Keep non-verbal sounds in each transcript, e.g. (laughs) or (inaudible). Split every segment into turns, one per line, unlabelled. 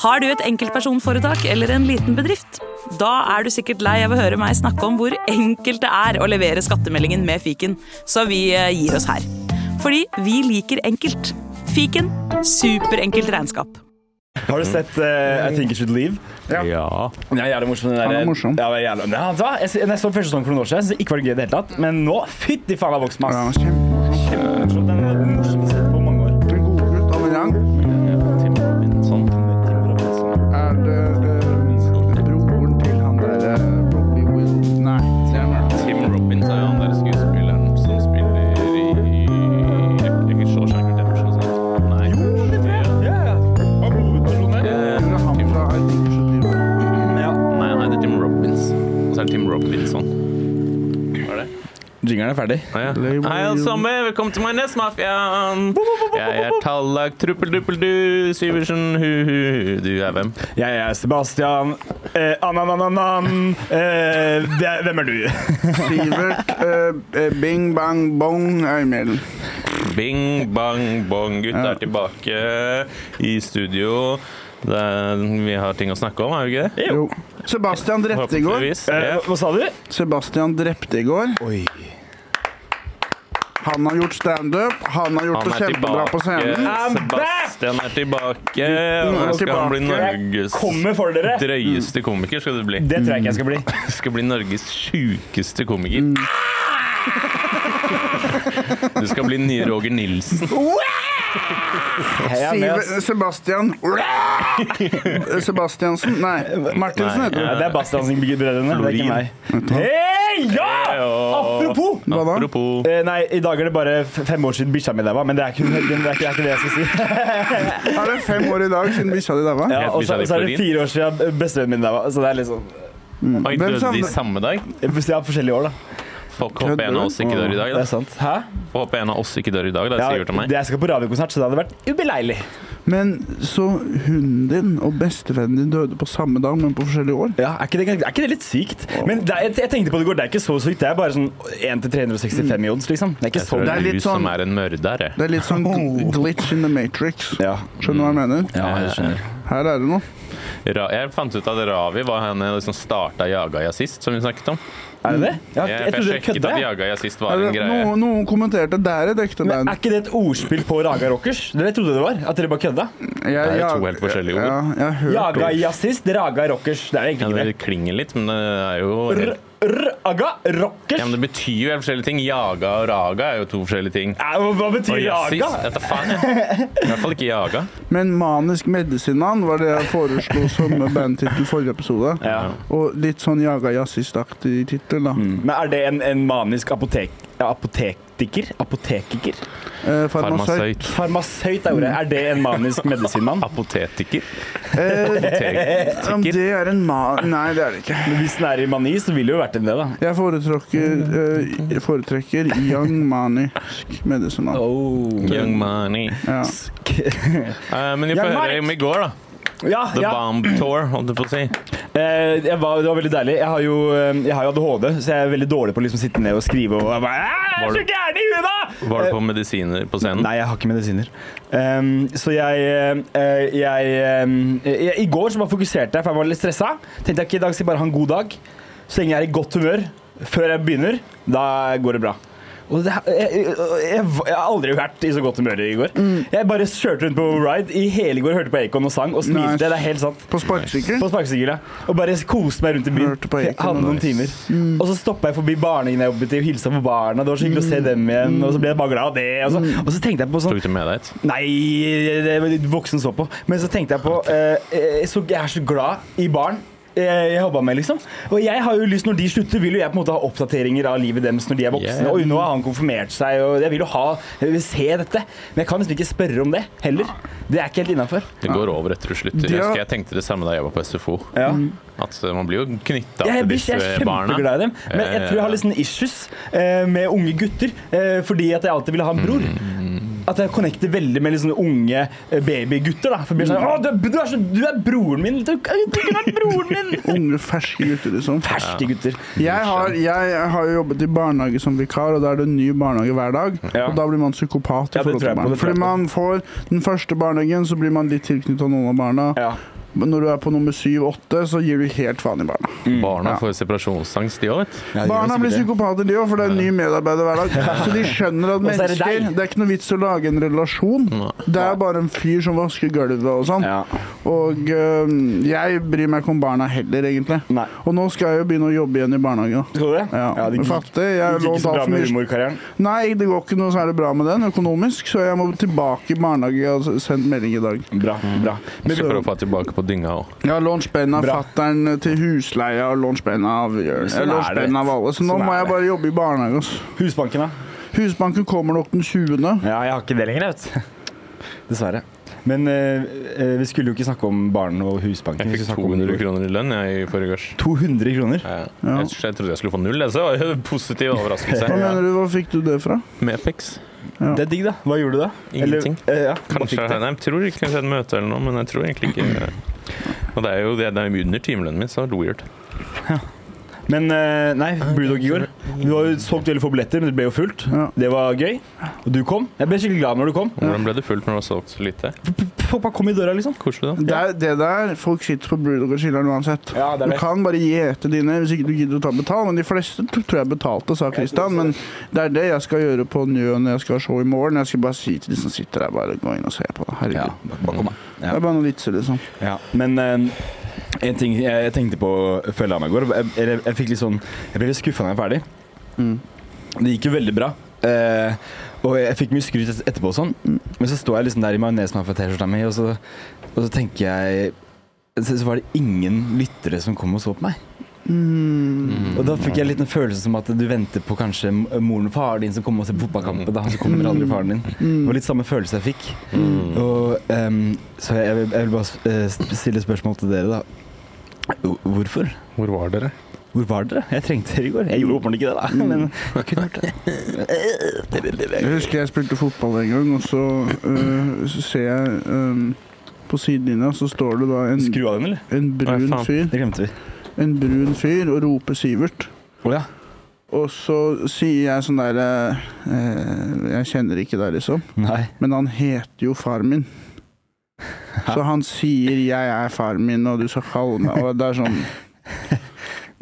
Har du et enkeltpersonforetak eller en liten bedrift? Da er du sikkert lei av å høre meg snakke om hvor enkelt det er å levere skattemeldingen med fiken, så vi eh, gir oss her. Fordi vi liker enkelt. Fiken superenkelt regnskap.
Har du sett eh, I Think You Should Leave?
Ja.
Den er jævlig morsom. Den der, eh,
Han er morsom.
Ja, den er jævlig, ja, da, jeg, jeg, jeg så første sesong for noen år siden. Jeg synes ikke var det gøy i det hele tatt. Men nå, fytti faen, jeg har vokst
Ja,
masse.
han er kjempemorsom.
Den er den morsomste jeg har sett på mange år.
En god gutt av en gjeng. Er det eh, broren til han der eh, Robbie Will... Nei, det er han ikke.
Tim Robbins er jo han der skuespilleren som spiller i er det ikke Shawshank Redemption og sånt. Nei, kanskje-
Eh, Det er han fra I Think You Should Leave.
Ja. Nei, han heter Tim Robbins. Og så er det Tim Robinson. Hva er det?
Jingeren er ferdig.
Ah, ja.
Label
Hei, alle sammen. Velkommen til Majones-mafiaen. Jeg er Tallak Truppel-Duppel-Du Syversen Hu-Hu. Du er hvem?
Jeg er Sebastian. Eh, Ananananan. Eh, det er- hvem er du?
Sivert, eh, eh, bing, bang, bong, Øymild.
Bing, bang, bong. Gutta er tilbake i studio. Det er, vi har ting å snakke om, har vi ikke det?
Jo. Sebastian drepte i går.
Forhåpentligvis.
Eh,
Ja.
hva sa du?
Sebastian drepte i går.
Oi.
Han har gjort standup. Han har gjort
Han
det
er
kjempebra på scenen.
I'm
tilbake. Sebastian er tilbake. Og
er
nå skal han bli
tilbake.
Norges
Kommer for dere.
drøyeste komiker. Skal du bli.
Det tror jeg ikke jeg skal bli.
Skal bli Norges sjukeste komiker. Du skal bli nye Roger Nilsen.
Jeg er med,
Siver,
ass.
Sebastian Sebastiansen? Nei, Martinsen heter
Ja,
det.
det er Bastian sin brødrene, det er ikke meg. Hei, ja! Apropos!
Hva da?
Apropos
Eh, nei, i dag er det bare f- fem år siden bikkja mi daua, men det er, ikke, det, er ikke, det er ikke det jeg
(laughs)
skal si.
Er det fem år i dag siden bikkja di daua?
Ja, (laughs) og så så
bikkja di
er det
Florin?
fire år siden bestevennen min daua, så det er liksom
Oi,
Hvem
døde de
savner-
samme dag?
Ja, forskjellige år, da.
Folk håper en av oss ikke dør i dag.
Det
Da.
er sant. Hæ?
Håper en av oss ikke dør i dag, da,
Ja,
Sivert og meg.
det jeg skal på radiokonsert, så det hadde vært ubeleilig.
Men så hunden din og bestevennen din døde på samme dag, men på forskjellige år?
Ja, er, ikke det, er ikke det litt sykt? Men det, er- jeg, jeg tenkte på det i går, det er ikke så sykt. Det er bare sånn 1 til 365 i odds, liksom. Det er ikke
Jeg
så
tror det
Det
er
er
du
litt
som
sånn-
er en mørder. jeg.
Det er litt sånn gl- glitch in the matrix.
Ja.
Skjønner du hva jeg mener?
ja, jeg skjønner.
Her er det noe.
Ra jeg fant ut at Ravi var han jeg liksom starta Jagaja sist, som vi snakket om.
Er det det? Mm. Ja,
Jeg,
jeg
for
trodde
jeg
du
sjekket
kødda.
at
jeg.
Jagaja sist var
Er
en
det,
greie.
noen, noen kommenterte der er et ekte
Men
band.
er ikke det et ordspill på Raga Rockers? Dere trodde det var? At dere bare kødda?
Jeg,
Det er
jeg-
to helt forskjellige ord.
Ja, jeg har hørt
Jaga jazzist, Raga Rockers. Det er jo
Ja,
egentlig
det klinger litt, men det er jo
ikke
helt,
det. Raga Rockers?
ja, men Det betyr jo helt forskjellige ting. Jaga og raga er jo to forskjellige ting.
Ja, hva- Hva betyr
Og
Raga?
jazzist, dette faen jeg. I hvert fall ikke
(laughs)
jaga.
Men manisk medisinmann var det jeg foreslo som bandtittel forrige episode.
Ja. Mm.
Og litt sånn jaga jazzistaktig tittel, da.
Men er det en, en manisk apotek... Apotektiker? Apotekiker? Mm.
Eh, farmasøyt.
Farmasøyt.
Farmasøyt er ordet. Er det en manisk medisinmann?
Apotetiker.
Eh,
(laughs)
om
Apotetiker.
det er en ma... Nei, det er det ikke.
Men (laughs) Hvis den er i mani, så ville det jo vært en det, da.
Jeg foretrekker, eh, foretrekker young manisk medisinmann.
Oh.
Young money.
Ja.
Eh, men vi får
Young
høre
money.
om i går, da.
(laughs) Ja,
The
ja.
Bomb Tour, holdt jeg på å si.
Eh, jeg var, det var veldig deilig. Jeg har jo, eh, jeg har jo ADHD, så jeg er veldig dårlig på å liksom sitte ned og skrive. Og jeg bare, «Æ, jeg
Var
er
du-
så gæren i huet, da!
Var
Eh,
du på medisiner på scenen?
Nei, jeg har ikke medisiner. Ehm, så jeg, eh, jeg, ehm, jeg I går så bare fokuserte jeg, for jeg var litt stressa. Tenkte jeg ikke i dag skal jeg bare ha en god dag. Så lenge jeg er i godt humør før jeg begynner, da går det bra. Og det, jeg, jeg, jeg, jeg har aldri vært i så godt humør i går. Jeg bare kjørte rundt på ride i hele går, hørte på Acon og sang og smilte.
Nice.
Det er helt sant.
På sparkesykkel?
På sparkesykkel, ja. Og bare koste meg rundt i byen.
Hørte på Mm. Acon,
Jeg hadde noen
nice.
timer. Og så stoppa jeg forbi barnehagen jeg jobbet i, og hilsa på barna. Det var så hyggelig
Mm.
å se dem igjen. Og så ble jeg bare glad av det. Og så, og så tenkte jeg på sånn
Tok du med deg et?
Nei, det var voksen så på. Men så tenkte jeg på eh, eh, så Jeg er så glad i barn. eh, Jeg jobba med, liksom. Og jeg har jo lyst, når de slutter, vil jo jeg på en måte ha oppdateringer av livet deres når de er voksne.
Yeah.
Og nå har han konfirmert seg, og jeg vil jo ha jeg vil se dette. Men jeg kan liksom ikke spørre om det heller. Det er ikke helt innafor.
Det går over etter du slutter.
Ja.
Jeg husker jeg tenkte det samme da jeg var på SFO.
Ja.
At eh, man blir jo knytta
Jeg,
til
blir-
disse
jeg er
barna.
kjempeglad i dem, men jeg
Eh,
tror jeg har litt sånne issues eh, med unge gutter. eh, Fordi at jeg alltid ville ha en bror. At jeg connecter veldig med litt sånne unge eh, babygutter. da For jeg blir sånn, Å, du, er- du, er så, du er broren min! Du, du kunne vært broren (laughs) min!
Unge, ferske gutter, liksom.
Ferske gutter.
Jeg har, jeg har jo jobbet i barnehage som vikar, og da er det en ny barnehage hver dag.
Ja.
Og da blir man psykopat. i
Ja, det tror jeg
forhold til
på, det tror
barn.
jeg
Fordi
på.
man får den første barnehagen, så blir man litt tilknyttet noen av barna.
Ja.
Men når du er på nummer syv-åtte, så gir du helt faen i barna.
Mm.
Barna
Ja.
får separasjonsangst, de òg, vet du.
Ja, det gjør
Barna
sikkert
blir
det.
psykopater, de òg, for det er en ny medarbeider hver dag. Så de skjønner at
Og så er det
mennesker
deg.
Det er ikke noe vits å lage en relasjon.
Nei.
Det er bare en fyr som vasker gulvet og sånn.
Ja.
Og øhm, jeg bryr meg ikke om barna heller, egentlig.
Nei.
Og nå skal jeg jo begynne å jobbe igjen i barnehage. da.
Tror du det?
Ja,
det gikk-
Fattig. Jeg
gikk
lå
ikke så bra
altfor
med
mye
humorkarrieren.
Nei, det går ikke noe særlig bra med den økonomisk, så jeg må tilbake i barnehage. Jeg har sendt melding i dag.
Bra. bra.
Men vi prøver å få tilbake på dynga òg.
Jeg har lånt spenn av
Bra.
fattern til husleie og lånt spenn av Jørn.
Sånn
Jeg har lånt
er det.
spenn av alle, så nå
Sånn
må
er
jeg
det.
bare jobbe i barnehage. ass.
Husbanken, da?
Husbanken kommer nok den 20.
Ja, jeg har ikke det lenger, jeg, vet du. (laughs) Dessverre. Men eh, eh, vi skulle jo ikke snakke om barn og Husbanken.
Jeg
vi
fikk
skulle snakke om-
200 kroner i lønn jeg, i forrige års.
200 kroner?
Jeg, jeg, jeg trodde jeg skulle få null, jeg, så det var jo en positiv
Hva
overraskelse.
mener du, hvor fikk du det fra?
Med Pex.
Det er digg, da. Hva gjorde du da?
Ingenting.
Eller, eh, ja, hva
Kanskje
fikk du?
nei, jeg tror ikke kanskje et møte eller noe, men jeg tror egentlig ikke Og det er jo det, det er jo under timelønnen min, så det er weird.
Men eh, nei, Brewdog i går. Du har jo solgt veldig få billetter, men det ble jo fullt.
Ja.
Det var gøy. Og du kom. Jeg ble skikkelig glad når du kom.
Hvordan ble det fullt når du har solgt så lite?
Pappa kom i døra, liksom.
Koselig, da.
Det, er, det der, folk sitter på Brewdog og chiller'n uansett.
Ja, det er
Du
det.
kan bare gjete dine hvis ikke du gidder å ta betalt. Men de fleste t- tror jeg betalte, sa Kristian. Men det er det jeg skal gjøre på Njø når jeg skal ha show i morgen. Jeg skal bare si til de som sitter der, bare gå inn og se på det.
Ja,
Herregud.
bare kom, da.
Det er bare noen vitser, liksom.
Ja, men eh, en ting jeg, jeg tenkte på før jeg la meg i går jeg, jeg, jeg fikk litt sånn Jeg ble litt skuffa da jeg var ferdig. Det gikk jo veldig bra. eh, og jeg fikk mye skryt et- etterpå og sånn. Men så står jeg liksom der i majonesen fra T-skjorta mi, og så, og så tenker jeg så, så var det ingen lyttere som kom og så på meg.
Mm,
Mm.
Mm. Og da fikk jeg litt en følelse som at du venter på kanskje m- moren og faren din som kommer og ser på fotballkampen, da, og så kommer aldri faren din.
Mm.
Det var litt samme følelse jeg fikk.
Mm.
Og, ehm, så jeg, vil- jeg vil bare s- eh, s- stille spørsmål til dere, da. Hvor- Hvorfor?
Hvor var dere?
Hvor var dere? Jeg trengte dere i går. Jeg gjorde åpenbart ikke det, da. Men eh, jeg kunne vært det.
mm. Jeg husker jeg spilte fotball en gang, og så, øh, så ser jeg øh, på sidelinja, så står det da en,
Skru av den, eller?
en brun
Nei, faen.
fyr
Det glemte vi.
En brun fyr og roper Sivert.
Å ja.
Og så sier jeg sånn derre eh, Jeg kjenner ikke deg, liksom.
Nei.
Men han heter jo
(laughs)
far min. Så han sier 'jeg er faren min, og du skal kalle meg' Og det er sånn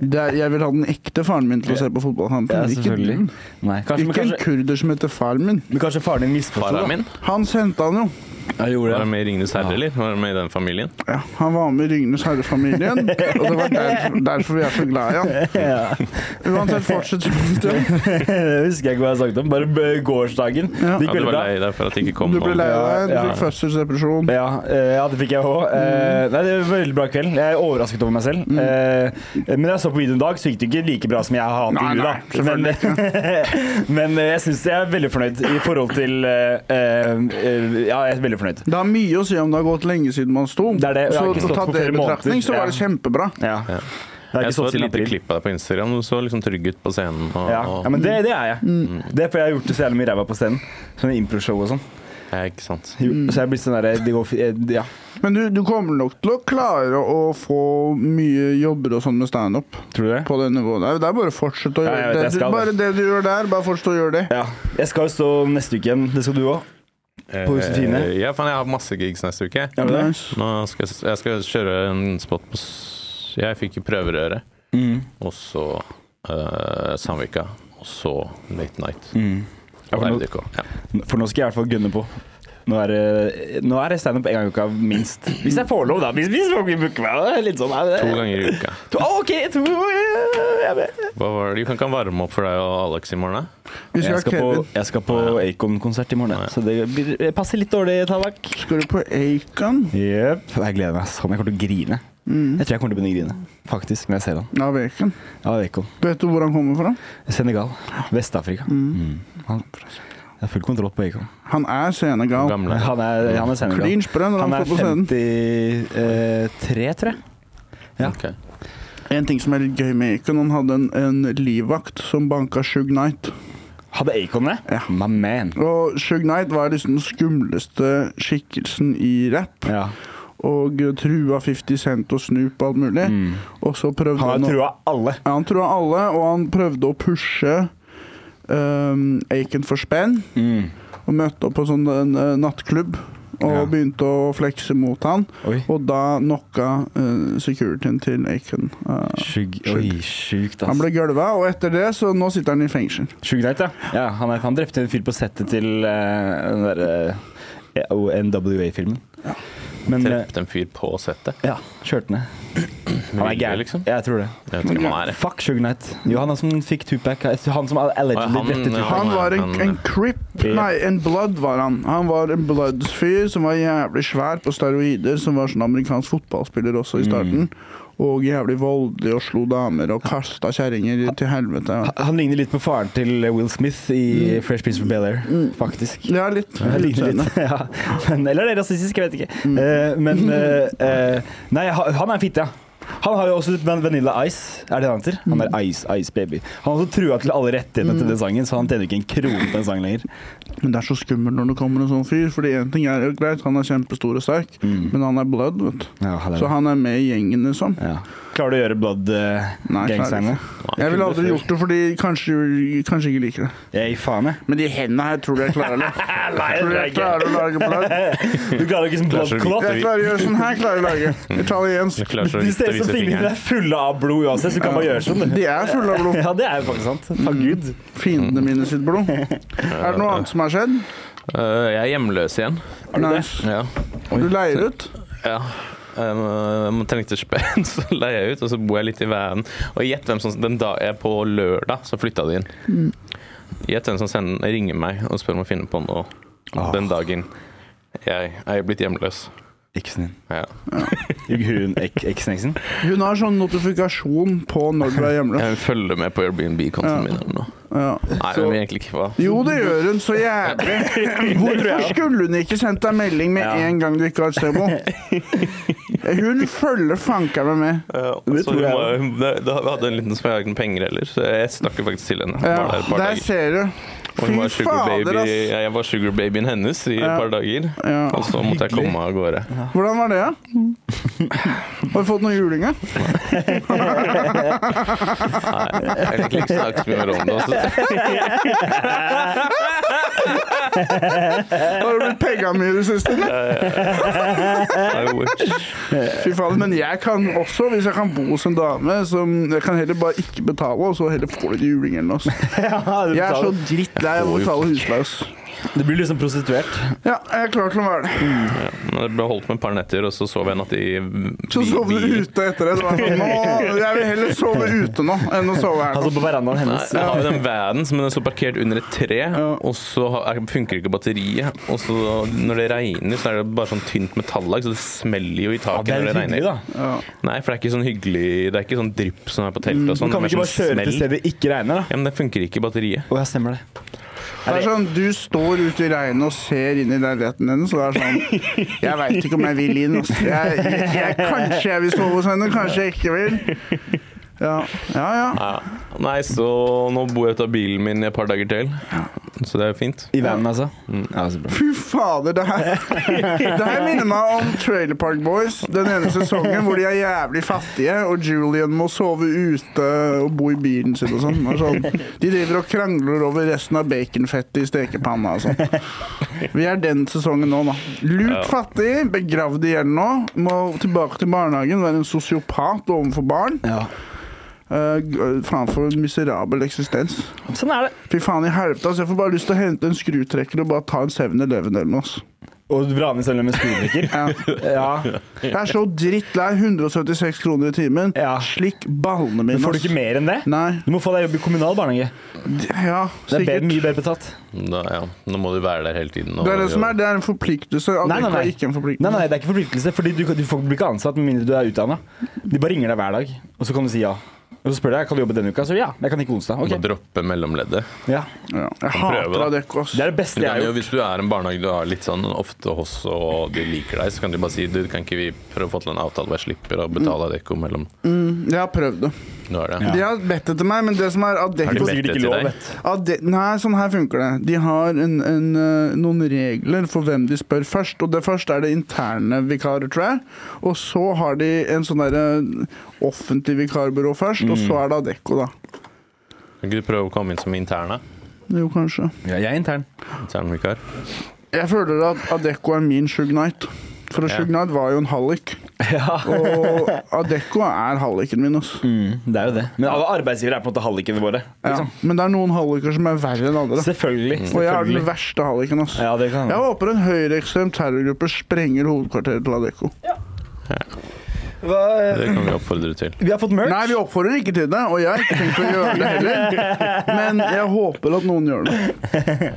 det er, Jeg vil ha den ekte faren min til å se på fotballkampen.
Ja,
ikke,
selvfølgelig.
du.
Nei. Kanskje, men,
ikke en
kanskje,
kurder som heter faren min.
men kanskje faren din misforsto?
Faren min?
Han sendte han jo.
Jeg gjorde
Var
det.
han med i Ringenes herre, eller? Var han med i den familien?
Ja, han var med i Ringenes herre-familien, og det var derfor, derfor vi er så glad i han.
(laughs) Ja. (laughs)
Uansett, fortsett sånn.
det husker jeg ikke hva jeg snakket om. Bare b- gårsdagen. Det
Ja.
Ja,
gikk
du
veldig
var
bra.
lei deg for at det ikke kom
Du ble
noen.
lei deg, du
Ja, ja.
fikk fødselsdepresjon.
Ja, eh, ja, det fikk jeg òg. Nei, det var en veldig bra kveld. Jeg er overrasket over meg selv. Eh, men da jeg så på videoen i dag, så gikk det ikke like bra som jeg har hatt
Nei,
i
nei,
jula. Men, (laughs) men eh, jeg syns jeg er veldig fornøyd i forhold til eh, eh, Ja, jeg er veldig fornøyd.
Det har mye å si om det har gått lenge siden man sto.
Det er det, og jeg har
Så
ikke stått
tatt
på
det
flere
i betraktning,
måneder.
så var det
Ja.
kjempebra.
Ja.
Ja.
Det er ikke
Jeg så
sånn
et
siden
lite
april.
klipp av deg på Instagram. Du så liksom trygg ut på scenen. Og,
Ja.
og-
ja, men det, det er jeg. Det er fordi jeg har gjort det så jævlig mye ræva på scenen. Sånn improshow og sånn.
ja, ikke sant.
Jo, Så jeg er blitt sånn derre Det går fi- eh, Ja.
Men du, du kommer nok til å klare å få mye jobber og sånn med standup
Tror du det?
på det nivået der. Det er bare å fortsette å
Ja,
gjøre
jeg vet, jeg
det. Du,
skal det.
bare det du gjør der, bare fortsett å gjøre det.
Ja. Jeg skal jo stå neste uke igjen. Det skal du òg. På Josefine?
Eh, Ja, faen, jeg har masse gigs neste uke.
Ja, men det-
Nice.
Nå skal jeg, jeg skal kjøre en spot på s- Jeg fikk prøverøre,
Mm.
og så eh, Sandvika, og så Late Night. Og
Mm. for nå-
RDK. Ja.
For nå skal jeg i hvert fall gunne på. Nå er, det- nå er det standup en gang i uka, minst. Hvis jeg får lov, da. Hvis, hvis folk vil booke meg. da. Litt sånn, er det-
To ganger i uka.
To- å, ok, to jeg vet.
Hva var det? Du kan ikke varme opp for deg og Alex i morgen? da?
Vi skal
Jeg
ha
skal på,
Kevin.
jeg skal på Acon-konsert i morgen, jeg. så det blir, det passer litt dårlig, Tallak.
Skal du på Acon?
Jepp. Jeg gleder meg sånn. Jeg kommer til å grine. Jeg tror jeg kommer til å begynne å grine, faktisk, når jeg ser han.
Ja, Acon.
Ja, Acon.
Vet du hvor han kommer fra?
Senegal. Vest-Afrika. Mm. Han jeg har full kontroll på Acon.
Han er Senegal.
Gamle.
Han er, han er Senegal.
Klin sprø når
Han
han,
er
står på scenen.
53, tror jeg. Ja.
Ok.
En ting som er litt gøy med Acon, han hadde en, en livvakt som banka Shug Knight.
Hadde Acon det?
Ja.
My man.
Og Shug Knight var liksom den skumleste skikkelsen i rap.
Ja.
og trua 50 Cent og Snoop og alt mulig. Og så prøvde
Mm. Han
han,
har
å-
trua alle.
ja, han trua alle, og han prøvde å pushe ehm,
Mm.
um, Aiken for spenn. Og møtte opp på sånn en eh, nattklubb og
Ja.
begynte å flekse mot han.
Oi.
Og da knocka eh, securityen til Aiken. Eh,
Sjug, oi, sjukt,
han
ass.
ble gølva, og etter det så nå sitter han i fengsel.
Sjukt greit, ja. ja han, er, han drepte en fyr på settet til eh, den eh, derre NWA-filmen. Men eh,
Drepte en fyr på settet.
ja, kjørte ned. Han
Ville,
er gæren,
liksom.
Jeg tror det.
Jeg vet ikke
(laughs)
om han er det.
Fuck Suge Knight. Jo, han er som fikk Tupac. Han som allegedly
han-
drepte Tupac.
Han
nei,
var en,
han-
en crip,
Ja.
nei, en blood var han. Han var en bloods-fyr som var jævlig svær på steroider, som var sånn amerikansk fotballspiller også i starten. Og jævlig voldelig og slo damer og kasta kjerringer i- til helvete.
Han ligner litt på faren til Will Smith i Fresh Prince of Bel-Air, faktisk.
Ja, litt.
Jeg
litt
ligner litt.
senere.
(laughs) Ja. Men, eller er det rasistisk, jeg vet ikke. Eh, men eh, eh, Nei, ha- han er en fitte, ja. Han har jo også litt Van- Vanilla Ice. Er det det han heter? Han er Ice Ice Baby. Han har også trua til alle rettighetene til den sangen, så han tjener ikke en krone på den sangen lenger.
Men det er så skummelt når det kommer en sånn fyr. Fordi en ting er jo greit, han er kjempestor og sterk, men han er blood, vet du.
Ja, han er Mm.
Så
det.
han er med i gjengen, liksom.
ja. Klarer du å gjøre blood eh,
Nei, klarer
gangsterne?
Jeg ville aldri gjort det, fordi kanskje, kanskje ikke liker det.
Jeg gir faen, jeg.
Men de hendene her tror du jeg klarer det.
(laughs)
Tror du jeg klarer å lage blood?
Du klarer ikke som blood
Klarer så
clot.
Jeg klarer å gjøre sånn her, klarer jeg å lage. Italiensk.
Du klarer så
De
vidt å
ser ut
vise
som fingrene dine
fingeren.
er fulle av blod uansett, så du kan bare gjøre sånn. du.
De er fulle av blod.
Ja, det er jo faktisk sant. Takk Gud.
Fiendene mine sitt
(laughs)
blod. Er det noe annet som har skjedd?
Eh, jeg er hjemløs igjen.
Nice.
Ja.
Du leier ut?
ja. Eh, man trengte spenn, (laughs) så leier jeg ut, og så bor jeg litt i vanen. Og gjett hvem som den da, jeg På lørdag så flytta de inn. Gjett hvem som sender, ringer meg og spør om å finne på noe den dagen jeg er blitt hjemløs.
Eksen din.
Ja.
Hun ek- eksen, eksen?
Hun har sånn notifikasjon på når du er hjemløs.
Jeg følger med på Airbnb-kontoen min eller noe.
Ja.
Nei, men egentlig ikke hva.
Jo, det gjør hun så
(laughs)
jævlig. Hvorfor skulle hun ikke sendt deg melding med
Ja.
en gang du ikke har et
(laughs)
sted å bo? Hun følger fanker meg med.
det
Eh, så
tror
hun
jeg
var- hun- det- da hadde hun en liten som jeg hadde ikke penger heller, så jeg stakk jo faktisk til henne. Var der
Ja,
et par
der
dager.
ser du.
Og hun var
Fy
sugar baby,
fader, ass.
ja, jeg var sugarbabyen hennes i et par dager.
Ja.
Og så måtte jeg komme meg av gårde.
Hvordan var det, da? Har du fått noe juling, da?
Nei, jeg vil egentlig ikke snakke så mye mer om det. Altså.
Har du blitt pegga mye i det siste?
I wish.
Fy faen, men jeg kan også, hvis jeg kan bo hos en dame som Jeg kan heller bare ikke betale, og så heller få litt juling eller
(laughs)
noe. ass.
(laughs) (laughs) Ja, du
Jeg er så
betaler.
drittlei av å betale husleie, ass.
Det blir liksom prostituert.
Ja, jeg er klar til å være det.
Men Jeg ble holdt med et par netter, og så sov jeg en natt i
Så sov du
bil.
ute etter det. Så var jeg sånn, nå, jeg vil heller sove ute nå enn å sove her.
Altså
nå.
på verandaen
Nei,
hennes.
jeg har jo den vanen som den står parkert under et tre, og så har- er- funker ikke batteriet. Og så når det regner, så er det bare sånn tynt metallag, så det smeller jo i
Ja,
taket
det er
når
litt
det regner.
hyggelig, da.
Nei, for det er ikke sånn hyggelig Det er ikke sånn drypp som er på teltet og
Du
sånn.
Mm, kan
det er
ikke bare
sånn
kjøre til
smell.
stedet det ikke regner, da.
Ja, men det funker ikke i batteriet.
Å, ja, stemmer det.
Det er sånn, Du står ute i regnet og ser inn i leiligheten hennes, og det er sånn Jeg veit ikke om jeg vil inn. ass. Jeg, jeg, jeg, kanskje jeg vil sove hos henne, kanskje jeg ikke vil. Ja, ja. ja.
Ja. Nei, så nå bor jeg ute av bilen min i et par dager til, så det er jo fint.
I vanen, altså.
Mm.
Ja, så bra.
Fy fader, det her Det her minner meg om Trailer Park Boys. Den ene sesongen hvor de er jævlig fattige, og Julian må sove ute og bo i bilen sin og sånn. Det er sånn. De driver og krangler over resten av baconfettet i stekepanna og sånn. Vi er den sesongen nå, da. Lurt fattig, begravd i gjeld nå. Må tilbake til barnehagen, være en sosiopat overfor barn.
Ja.
eh, g- framfor en miserabel eksistens.
Sånn er det.
Fy faen i helvete, altså. Jeg får bare lyst til å hente en skrutrekker og bare ta en 7-Eleven eller noe. altså. ass.
Og vrane selv med skrudrikker.
Ja.
Ja.
Jeg er så drittlei 176 kroner i timen.
Ja.
Slikk ballene mine.
Men får du ikke
ass.
mer enn det?
Nei.
Du må få deg jobb i kommunal barnehage.
D- Ja,
Det er bedre,
sikkert.
mye bedre betalt.
Da, ja. Nå må du være der hele tiden. og-
Det er det som er, det er en forpliktelse. At
Nei, nei, nei.
det ikke er en
Nei,
forpliktelse.
nei, det er ikke forpliktelse, Fordi du, du får- blir ikke ansatt med mindre du er utdanna. De bare ringer deg hver dag, og så kan du si ja. Og så spør de kan du jobbe denne uka, så ja. Jeg kan ikke onsdag.
Du
Ok.
må droppe mellomleddet.
Ja.
Ja. Jeg
prøve,
hater
da.
Adecco, ass.
Det er det beste
Du
jeg har
kan jo,
gjort.
hvis du er en barnehage du har litt sånn ofte hos, og de liker deg, så kan de bare si du, kan ikke vi prøve å få til en avtale hvor jeg slipper å betale Adecco mellom
Jeg har prøvd det.
Nå er det.
De har bedt etter meg, men det som er
Har de
Adecco
får sikkert ikke
bedt det til
lov,
deg?
vet
Ade Nei, sånn her funker det. De har en, en, eh, noen regler for hvem de spør først. Og det første er det interne vikarer, tror jeg. Og så har de en sånn derre offentlig vikarbyrå først,
Mm.
og så er det Adecco, da.
Kan ikke du prøve å komme inn som interne?
Jo, kanskje.
Ja, jeg er intern.
Internvikar.
Jeg føler at Adecco er min Shug Knight. For
Ja.
Shug Knight var jo en hallik.
Ja.
Og Adecco er halliken min. Altså.
Mm, det er jo det. Men alle arbeidsgivere er på en måte hallikene våre.
Ja.
Liksom.
Men det er noen halliker som er verre enn andre.
Selvfølgelig.
Og jeg er den
selvfølgelig.
verste halliken. Altså.
Ja, det kan
Jeg håper en høyreekstrem terrorgruppe sprenger hovedkvarteret til Adecco.
Hva, eh,
Det kan vi oppfordre til.
Vi har fått merch.
Nei, vi oppfordrer ikke til det, og jeg har ikke tenkt å gjøre det
(laughs)
heller. Men jeg håper at noen gjør det.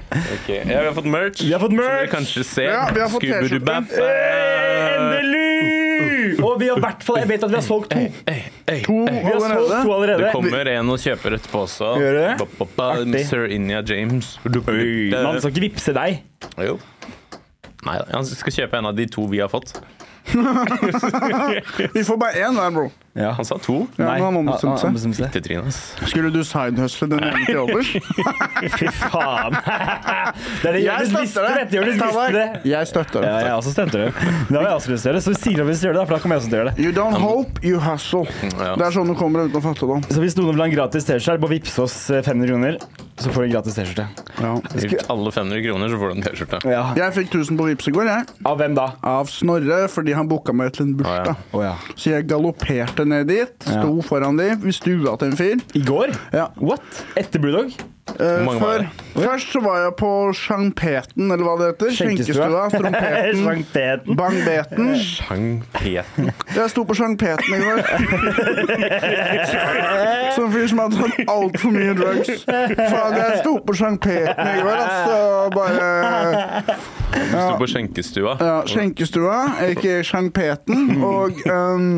Ja, vi har fått merch.
Vi har fått merch!
Som dere kanskje ser.
Ja, vi har fått
Skubbedubab.
Eh, Endelig! Og vi har i hvert fall Jeg vet at vi har solgt to.
Ei, ei.
To
Vi har solgt to
allerede.
allerede.
Det kommer en og kjøper etterpå også.
Gjør det?
Ba, ba, ba,
Artig.
Sir Inya James.
Oi, Man skal ikke vippse deg.
Jo. Nei, han skal kjøpe en av de to vi har fått.
Vi får bare én der, bro.
Ja.
Han sa to.
Ja, nå har man
han-
bestemt
han
seg.
bestemte seg.
Til Trine, ass.
Skulle du sidehustle den ene til
(laughs)
overs?
Fy faen. (laughs) Det er det Jonis visste, dette Jonis visste det.
deg. Jeg støtter
Ja,
deg.
jeg også stemte det. Men Da har jeg også lyst til å gjøre det, så sier han hvis du gjør det, da, for da kommer jeg også til å gjøre det.
You don't hope, you hustle.
Mm, Ja.
Det er sånn du kommer deg ut av fattigdom.
Så hvis noen vil ha en gratis T-skjorte, bare vips oss eh, 500 kroner, så får du en gratis T-skjorte.
Ja.
Gitt alle 500 kroner, så får du en T-skjorte.
Ja.
Jeg fikk 1000 på Vipps i går, jeg.
Av hvem da?
Av Snorre, fordi han booka meg til en bursdag.
Å ja.
Så jeg galopperte ned dit, sto foran de, vi stua til en fyr.
I går?
Ja.
What? Etter Brewdog?
Eh,
Hvor mange var
før,
det?
først så var jeg på Sjampeten, eller hva det heter. Skjenkestua,
Skjenkestua. (laughs)
(laughs)
trompeten,
Sjankpeten.
bangbeten.
Chang Peten.
Jeg sto på Sjampeten
(laughs)
i går. Som en fyr som hadde tatt altfor mye drugs. Faen, jeg sto på Sjampeten i går, altså. Bare
Du sto på skjenkestua.
ja, Skjenkestua, ikke Sjampeten. Og ehm,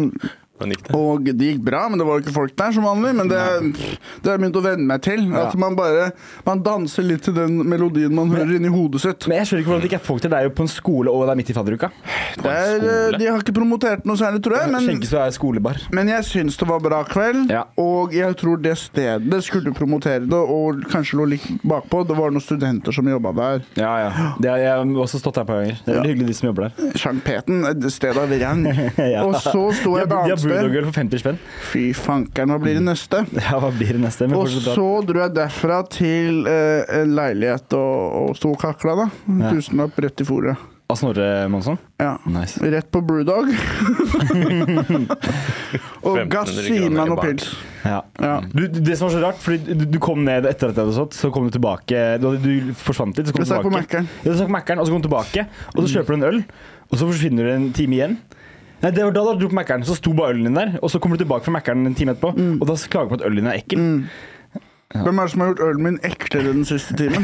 Hvordan gikk det?
Og det gikk bra, men det var jo ikke folk der som vanlig. Men det, det har jeg begynt å venne meg til. At man bare man danser litt til den melodien man hører inni hodet sitt.
Men jeg skjønner ikke hvordan det ikke er folk til deg på en skole og det er midt i fadderuka.
Det er, eh, de har ikke promotert noe særlig, tror jeg. Men,
Skjenkestua er skolebar.
men jeg syns det var bra kveld.
Ja.
Og jeg tror det stedet skulle promotere det, og kanskje lå litt bakpå. Det var noen studenter som jobba der.
Ja, ja. Det har jeg har også stått her på ganger. Det er veldig hyggelig de som jobber der.
Sjampeten, eh, stedet av rang.
(laughs) Ja.
Og så sto jeg
De
et
har
annet sted.
Brewdog-øl for 50 spenn.
Fy fankeren, hva blir det neste?
Ja, hva blir det neste? Men
Og
fortsatt bra.
så dro jeg derfra til eh, en leilighet og, og sto og kakla, da. Tusenlapp rett i fòret.
Av Snorre Monsson?
Ja.
Nice.
Rett på Brewdog. og
1500
gass i
kroner i
meg noe
bak.
pils.
Ja.
Ja.
Du, det som var så rart, fordi du, du kom ned etter at jeg hadde stått, så kom du tilbake Du, hadde- du forsvant litt, så kom
Jeg
du
stakk på
tilbake.
Mækkern.
Ja, du stakk på Mækkern, og så kom du tilbake, og så kjøper du en øl, og så forsvinner du en time igjen. Nei, det var Da da du dro på Mækkern, så sto bare ølen din der, og så kommer du tilbake fra Mækkern en time etterpå,
Mm.
og da klager du på at ølen din er ekkel.
Hvem er det som har gjort ølen min eklere den siste timen?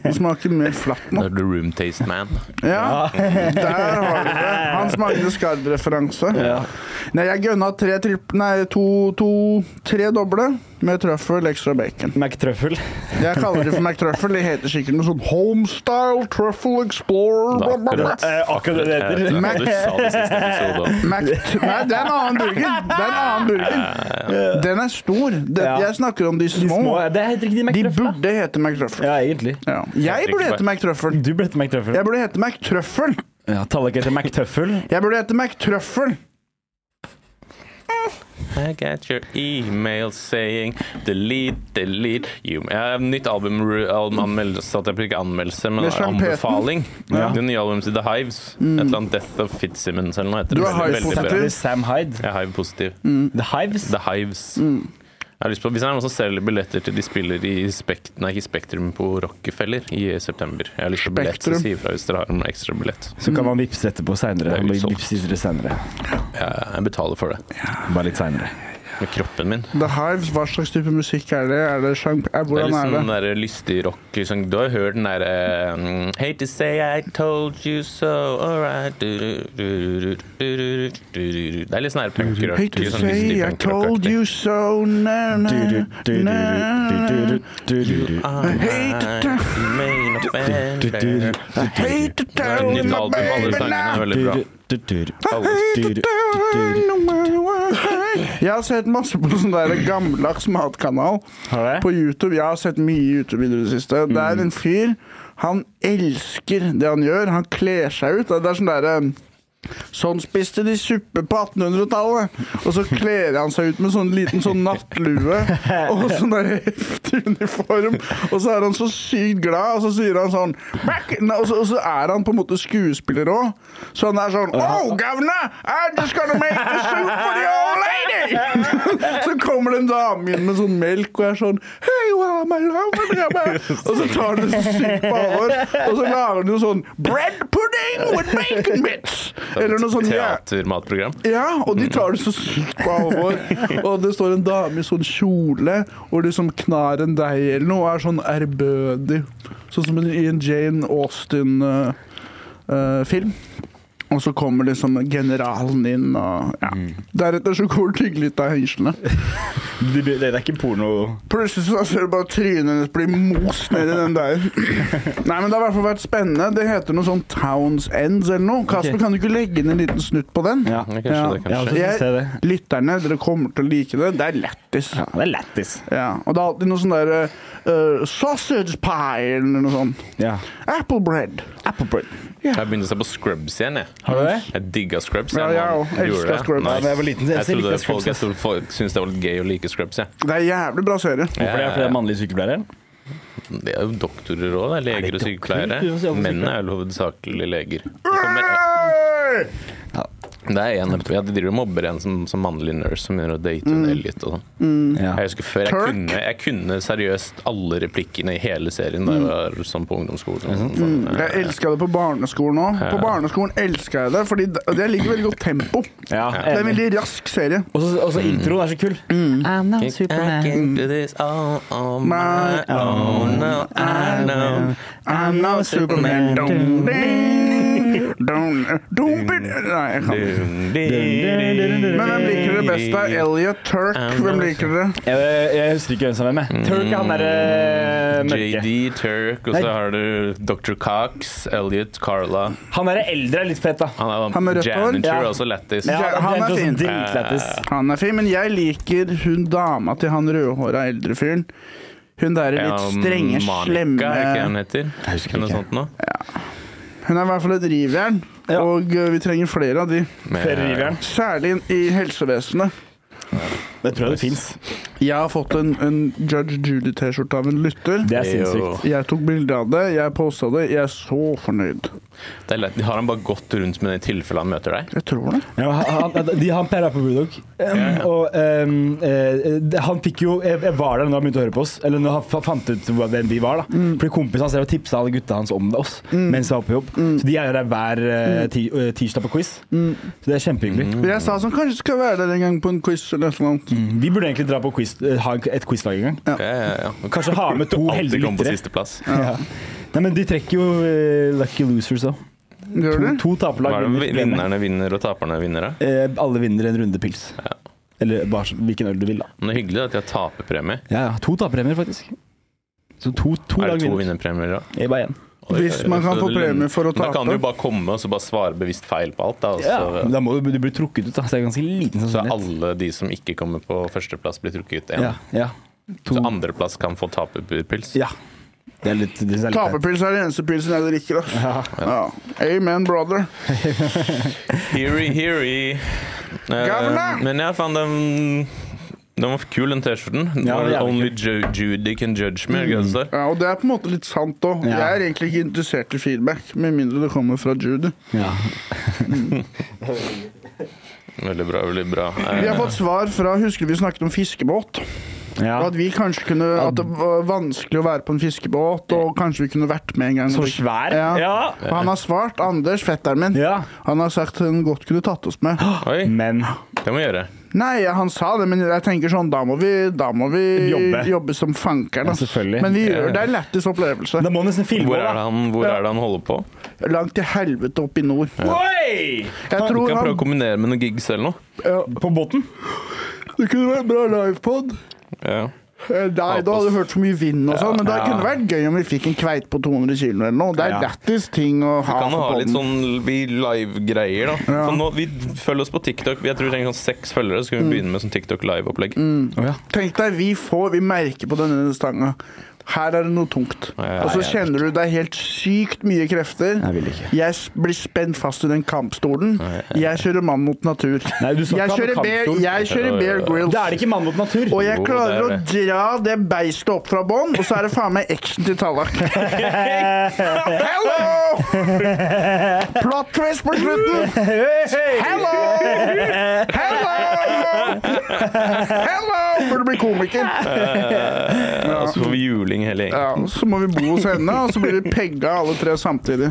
Den smaker mer flatt nå.
Da er du room taste
(laughs)
man.
Ja, der har du det. Hans Magne Skard-referanse. Nei, jeg gønna tre tripp... Nei, to, to Tre doble med trøffel, ekstra bacon.
(laughs)
Mac-trøffel.
Jeg kaller det for McTruffle. Det heter sikkert noe sånn Homestyle Truffle Explorer
Det
bla,
er
bla, bla.
akkurat-
Eh, akkurat det heter.
Ja, Du sa det i
(laughs)
siste episode også.
Mac Nei, det er en annen burger. Det er en annen burger. Den er stor. Den,
Ja.
jeg snakker om de
De
små.
små, det heter ikke de
De
Mac-trøffel.
burde hete McTruffle.
Ja, egentlig.
Ja. Jeg burde hete McTruffle.
Du ble til Mac-trøffel.
Jeg burde hete McTruffle.
Ja, Tallak heter Mac-tøffel.
Jeg burde hete McTruffle.
I got your email saying delete, delete you. Jeg har nytt album, album anmeldelse, at jeg ikke anmeldelse, men
Med Sean Peten.
anbefaling.
Ja. Mm.
Det nye albumet til The Hives. Et eller annet Death of Fitzsimmons eller noe heter
Du
det.
er Hive
Veldig bra.
positiv. Mm.
Sam Hyde.
Jeg er Hive positiv.
The Hives.
The Hives. Jeg har lyst på, hvis det er noen som selger billetter til de spiller i Spekt, nei, ikke Spektrum på Rockefeller i september Jeg har lyst på billett, så
Spektrum.
si ifra hvis dere har en ekstra billett.
Så kan man vippse etterpå seinere.
Det er utsolgt. Jeg jeg betaler for det
Bare litt seinere.
med kroppen min.
The Hives, hva slags type musikk er det? Er det sjang... Er,
Det er
hvordan
litt
er
sånn
det?
der lystig rock. Liksom. Du har hørt den derre um, Hate to say I told you so, alright du, du, du, du, du, du, du, du, du. Det er litt sånn her punker.
Hate to say I told you so na, na, na. I hate to tell (laughs) I hate to tell
Nytt
my
album, alle
baby
sangene
now.
er veldig bra.
Jeg har sett masse på sånn der gammeldags matkanal
Har du
på
det? Mm.
YouTube. Jeg har sett mye YouTube-videoer i det siste. Det er en fyr Han elsker det han gjør. Han kler seg ut. Det er sånn derre Sånn spiste de suppe på 1800-tallet. Og så kler han seg ut med sånn liten sånn nattlue og sånn der heftig uniform. Og så er han så sykt glad, og så sier han sånn «Back!» Nei, og, så, og så er han på en måte skuespiller òg. Så han er sånn Oh, governor! I just gonna make the soup for the old lady! så kommer det en dame inn med sånn melk og er sånn Hey, wow, my love, my love. Og så tar han det så sykt på alvor. Og så lager han jo sånn Bread pudding with bacon bits! Eller noe sånn ja.
Teatermatprogram.
Ja, og
Mm.
de tar det så sykt på alvor.
(laughs)
Og det står en dame i sånn kjole og liksom knar en deig eller noe og er sånn ærbødig. Sånn som i en Jane Austen-film. og så kommer liksom generalen inn og ja.
Mm.
Deretter så går det litt av hengslene.
Det, det, det er ikke porno.
Plutselig så ser du bare trynet hennes bli most ned i
(laughs)
den der. Nei, men det har i hvert fall vært spennende. Det heter noe sånn Towns Ends eller noe. Kasper,
Ok.
kan du ikke legge inn en liten snutt på den?
Ja.
Ja,
Jeg
Ja.
kanskje det,
har også
kanskje.
Ja.
lyst til å se det.
Lytterne, dere kommer til å like det. Det er lættis. Ja.
Det er lættis.
Og det er alltid noe sånn der eh, sausage pie eller noe sånt.
Ja.
Apple bread.
Apple bread.
Jeg begynte å se på Scrubs igjen, jeg.
Har du det?
Jeg digga Scrubs.
Ja,
nå.
jeg òg.
Gjorde
Elsker
det.
Scrubs.
Ja, da jeg var liten, så
jeg
likte
trodde
jeg
folk, jeg
Scrubs.
trodde folk syntes det var litt gøy å like Scrubs, jeg.
Det er jævlig bra serie.
Hvorfor det? Er fordi det er mannlige sykepleiere?
Det er jo doktorer òg, det er
Er
leger
det
og sykepleiere.
doktorer? Ja,
Mennene er jo hovedsakelig leger. Det kommer-
Hey!
Det er en episode, ja, De driver og mobber en som, som mannlig nurse som begynner å date en elite og sånn.
Mm. Ja.
Jeg husker før jeg
Kirk?
kunne, jeg kunne seriøst alle replikkene i hele
Mm.
serien da jeg var sånn på ungdomsskolen. Og sånn, sånn, eh,
Jeg elska det på barneskolen òg. På
Ja.
barneskolen elska jeg det, fordi det det ligger veldig godt tempo. Det
Ja,
er en
enig.
veldig rask serie.
Og så- Og så introen er så kul.
I'm not
I can uh, do this all on my
My
own. No, I know.
I'm no Superman. Don't, don't, don't, don't be Nei, jeg kan ikke. Men hvem liker dere best? da? Elliot Turk. Hvem liker dere?
Jeg, jeg husker ikke hvem som er med. Turk er han derre mørke.
JD Eh, Turk, og
Nei.
så har du Dr. Cox, Elliot, Carla
Han derre eldre er litt fet, da.
Han er
Han med rødt hår?
Ja.
janitor, også lættis.
Ja,
Ja, han er
også
fin.
Dritlættis.
Han er fin, men jeg liker hun dama til han rødhåra eldre fyren. Hun der er litt strenge,
Monica, er ikke det
slemme
han heter? Jeg
husker
Noe
ikke.
sånt nå.
Hun er i hvert fall et rivjern,
Ja.
og eh, vi trenger flere av de.
Med-
Ferreriveren.
Særlig i helsevesenet.
Det tror jeg det fins.
Jeg har fått en, en Judge Judy-T-skjorte av en lytter.
Det er
Det er jo-
sinnssykt.
Jeg tok bilde av det, jeg posta det. Jeg er så fornøyd.
Det er lett. Har han bare gått rundt med det i tilfelle han møter deg?
Jeg tror det.
Ja, han, han- de, han Per er på Bulldog. Um, og um, eh, det- han fikk jo jeg, jeg var der da han begynte å høre på oss. Eller når han fa- fant ut hva- hvem de var. da Fordi kompisen hans drev og tipsa alle gutta hans om det oss mens han var på jobb. Så de er jo der hver eh, ti, eh, tirsdag på quiz. Så det er kjempehyggelig.
Mm.
Jeg sa sånn, kanskje skal være der en gang på en quiz eller et eller annet.
Vi burde egentlig dra på quiz, eh, ha et quizlag en gang.
Ja, ja, ja.
Kanskje ha med to heldige
(laughs) Alltid kom på
lyttere.
sisteplass.
(laughs) Ja. Nei, men de trekker jo eh, lucky losers òg.
Gjør
To,
du?
to
Hva
taperlag
er det
vinner. vinner.
vinnerne vinner og taperne vinner? da?
Eh, alle vinner en runde pils. Eller bare så- hvilken øl du vil, da.
Men Det er hyggelig at de har taperpremie.
Ja, ja. To taperpremier, faktisk. Så to, to
Er
lag
det to
vinner.
vinnerpremier da?
Jeg bare én.
Oi,
Hvis
oi, oi.
man kan
Så
få
det lønner-
premie for å
Da kan du
tape.
jo bare komme og så bare svare bevisst feil på alt. Da, og
Ja,
så,
men da må du, du bli trukket ut, da. Så det er ganske liten
så
sannsynlighet.
alle de som ikke kommer på førsteplass, blir trukket ut
ja,
én.
ja. To.
Så andreplass kan få taperpils.
ja. Det er litt det er litt-
Taperpils er den eneste pilsen jeg drikker. ass.
Ja.
Ja. Amen, brother.
Heary,
(laughs)
heary. Eh,
Gamle!
men ja, faen, den, den var kul, den T-skjorten.
Ja, det er jævlig Mm.
Only Ju- Judy can judge me. eller hva det står.
Ja, og det er på en måte litt sant òg.
Ja.
Jeg er egentlig ikke interessert i feedback, med mindre det kommer fra Judy.
Ja.
Veldig bra. veldig bra Eh,
Vi har fått svar fra Husker du vi snakket om fiskebåt?
ja.
Og at vi kanskje kunne At det var vanskelig å være på en fiskebåt, og kanskje vi kunne vært med en gang.
Så svær.
Ja.
Ja.
Og han har svart, Anders, fetteren min,
ja.
han har sagt hun godt kunne tatt oss med.
Oi,
Men
det må vi gjøre.
Nei, han sa det, men jeg tenker sånn, da må vi, da må vi jobbe.
Jobbe.
som fankeren. ass.
Ja, selvfølgelig.
Men vi gjør det er lættis opplevelse.
da må du nesten filme
Hvor
òg,
er det
da.
han, hvor er det han holder på?
Langt til helvete opp i nord.
Oi!
Jeg
Du
tror
kan prøve
han
å kombinere med noen gigs eller noe.
På båten?
Det kunne vært bra livepod.
Ja.
Nei, eh, da hadde du hørt så mye vind og sånn, men det
Ja.
kunne vært gøy om vi fikk en kveit på 200 kg eller noe. Det er
Ja.
lættis ting å ha
Kan ha
for
litt
podden.
sånn vi live-greier, da.
Ja.
For nå, vi følger oss på TikTok. Jeg tror vi trenger sånn seks følgere,
Mm.
så skal vi begynne med sånn TikTok live-opplegg.
Å ja.
Tenk deg, vi får Vi merker på denne stanga. Her er det noe tungt.
Ja,
Og så
jeg vet.
kjenner du det er helt sykt mye krefter.
Jeg vil ikke.
Jeg s- blir spent fast i den kampstolen. Jeg kjører mann mot natur.
Nei, du skal
Jeg
ikke ha
kjører
noe
bear,
kampstol.
jeg kjører bear grills.
Da er det ikke mann mot natur.
Og jeg
Jo,
klarer å
det er
dra det beistet opp fra bånn, og så er det faen meg action til Tallak. Hello! Plot twist på slutten! Hello! Hello! Hello! Burde bli komiker.
Ja. Eh, Og så får vi juling hele gjengen.
Ja, så må vi bo hos henne, og så blir vi pegga alle tre samtidig.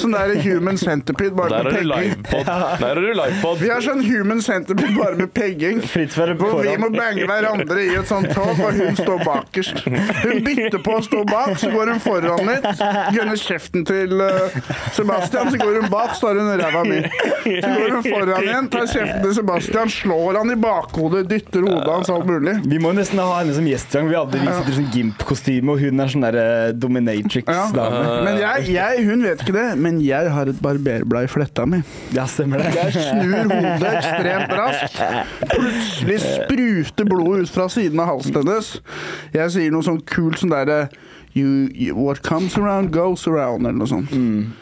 Sånn der human centipede, bare med
Der er du
pegging.
livepod. Der er du livepod.
Vi har sånn human centipede, bare med pegging.
Fritt for
Hvor vi må
foran.
bange hverandre i et sånt tog, og hun står bakerst. Hun bytter på å stå bak, så går hun foran litt, gønner kjeften til eh, Sebastian, så går hun bak, så har hun ræva mi. Så går hun foran igjen, tar kjeften til Sebastian, slår han i bakhodet, dytter hodet hans alt mulig.
Vi må jo nesten ha henne som gjest. Vi hadde vi sitter i sånn Gimp-kostyme, og hun er sånn der eh, dominatrix-dame.
Ja. Men jeg, jeg, hun vet ikke det, men jeg har et barberblad i fletta mi.
Ja, stemmer det.
Jeg snur hodet ekstremt raskt. Plutselig spruter blodet ut fra siden av halsen hennes. Jeg sier noe sånn kult sånn derre you, you, What comes around goes around, eller noe sånt.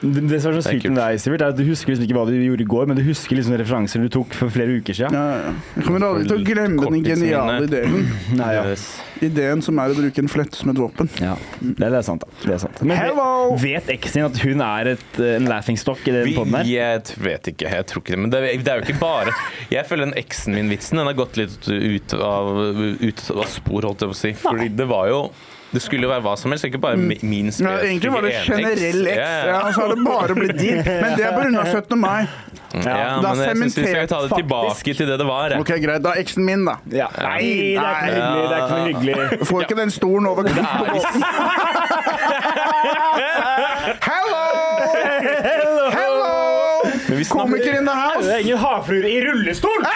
Det det som er så
Det er
sykt med deg, Sivert, er at du husker liksom ikke hva du gjorde i går, men du husker liksom referanser du tok for flere uker siden.
Ja, ja. Jeg kommer aldri til å glemme den geniale ideen.
Nei, ja.
Yes.
Ideen som er å bruke en flette som et våpen.
Ja, det, det er sant, da. Det er sant. Men
Hello!
vet- vet eksen din at hun er et, eh, en laughingstock i den
Vi,
poden her?
jeg t- vet ikke, jeg tror ikke det. Men det, er- det er jo ikke bare Jeg føler den eksen min-vitsen Den har gått litt ut av, ut av spor, holdt jeg på å si. Fordi det var jo Det skulle jo være hva som helst, ikke bare mi- min
Ja, egentlig var det generell X, ja, og så har det bare blitt din. Men det er pga. 17. mai.
Ja,
Ja,
det
ja
er
men jeg syns vi skal
sementert,
ta det tilbake
faktisk.
til det det var. jeg.
Ok, Greit, da er eksen min, da.
Ja. Nei, det er ikke noe hyggelig. Det er ikke noe hyggelig.
(laughs)
Får ikke den stolen over Hello!
Men
Hello!
vi snakker-
Komiker in the
Det
house!
er ingen havfruer i rullestol!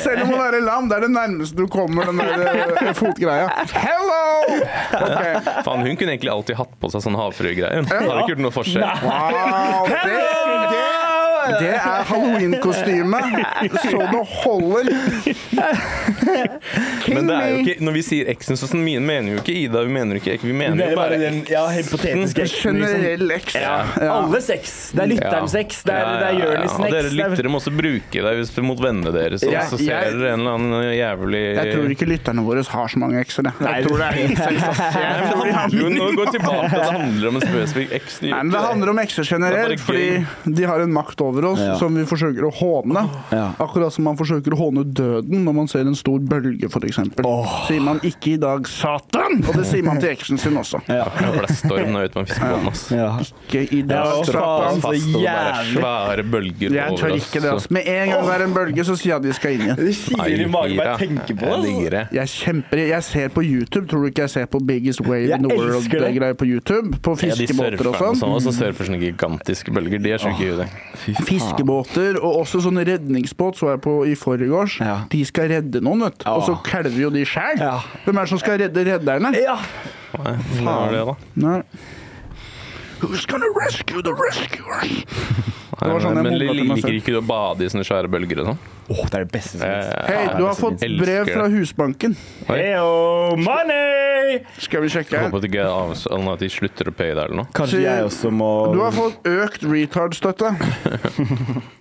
Selv om å være lam, det er det nærmeste du kommer den der eh, fotgreia. Hello! Ok.
Faen, hun kunne egentlig alltid hatt på seg sånn havfruegreie. Hun hadde ikke gjort noe forskjell.
Wow, det, det, det er halloween-kostyme. Så det holder.
Men det er jo ikke, når vi sier eksen, så sånn, vi mener jo ikke Ida, vi mener jo ikke vi
Det
mener
er
jo
bare
bare
den ja, hypotetiske eksen. Liksom.
Generell X.
Ja. Alle sex. Det er lytterens sex. Det er, det er Jonis
Og
sex.
dere
det er-
lyttere må også bruke det hvis mot vennene deres, og
Jeg-
så
jeg-
ser dere en eller annen eh, jævlig
Jeg tror ikke lytterne våre har så mange ekser. jeg. Jeg tror det er (laughs) helt
Jeg tror de handler- Jo, nå går tilbake til at det handler om en spesifikk eks.
Nei, men Det handler om ekser
Det er bare
generelt, fordi de har en makt over oss
Ja.
som vi forsøker å håne.
Ja.
Akkurat som man forsøker å håne døden når man ser en stor bølge, f.eks.
Åh.
Sier man 'ikke i dag, Satan', og det sier man til eksen sin også.
Jeg håper det er storm nå ute på en fiskebåt. ass.
Ja.
Ikke i dag,
Ja, faen.
Satan.
Fast og bare
jævlig.
svære bølger
Jeg tør
over oss.
ikke det.
så-
Altså. Med en gang det er en bølge, så sier jeg at de skal inn igjen.
Det kiler i magen bare jeg tenker på
Jeg
det.
digger det.
Jeg kjemper, jeg ser på YouTube. Tror du ikke jeg ser på Biggest Wave
Jeg
in the World?
elsker
Det
det.
greier på YouTube. På
Ja, de surfer
fiskebåter og
og
sånn.
sånn, og så surfer sånne gigantiske bølger. De er sjuke i huet.
Fiskebåter og også sånn redningsbåt så jeg på i forgårs.
Ja.
De skal redde noen, vet du. Og så kalver jo de sjæl.
Ja.
Hvem er det som skal redde redderne?
Ja.
Nei, hva var det da?
Nei. Who's gonna rescue the rescuers?
Nei,
var sånn jeg
men
mumlet til meg
liker
selv.
ikke du å bade i sånne svære bølger og sånn?
Åh, det er det beste som finnes.
Eh,
Hei, du har
jeg
fått brev
elsker
fra
det.
Husbanken.
Heyo, money!
Skal vi sjekke?
Håper at ikke jeg avs- at de slutter å pøye deg eller noe.
Kanskje jeg også må
Du har fått økt
(laughs)
retard-støtte.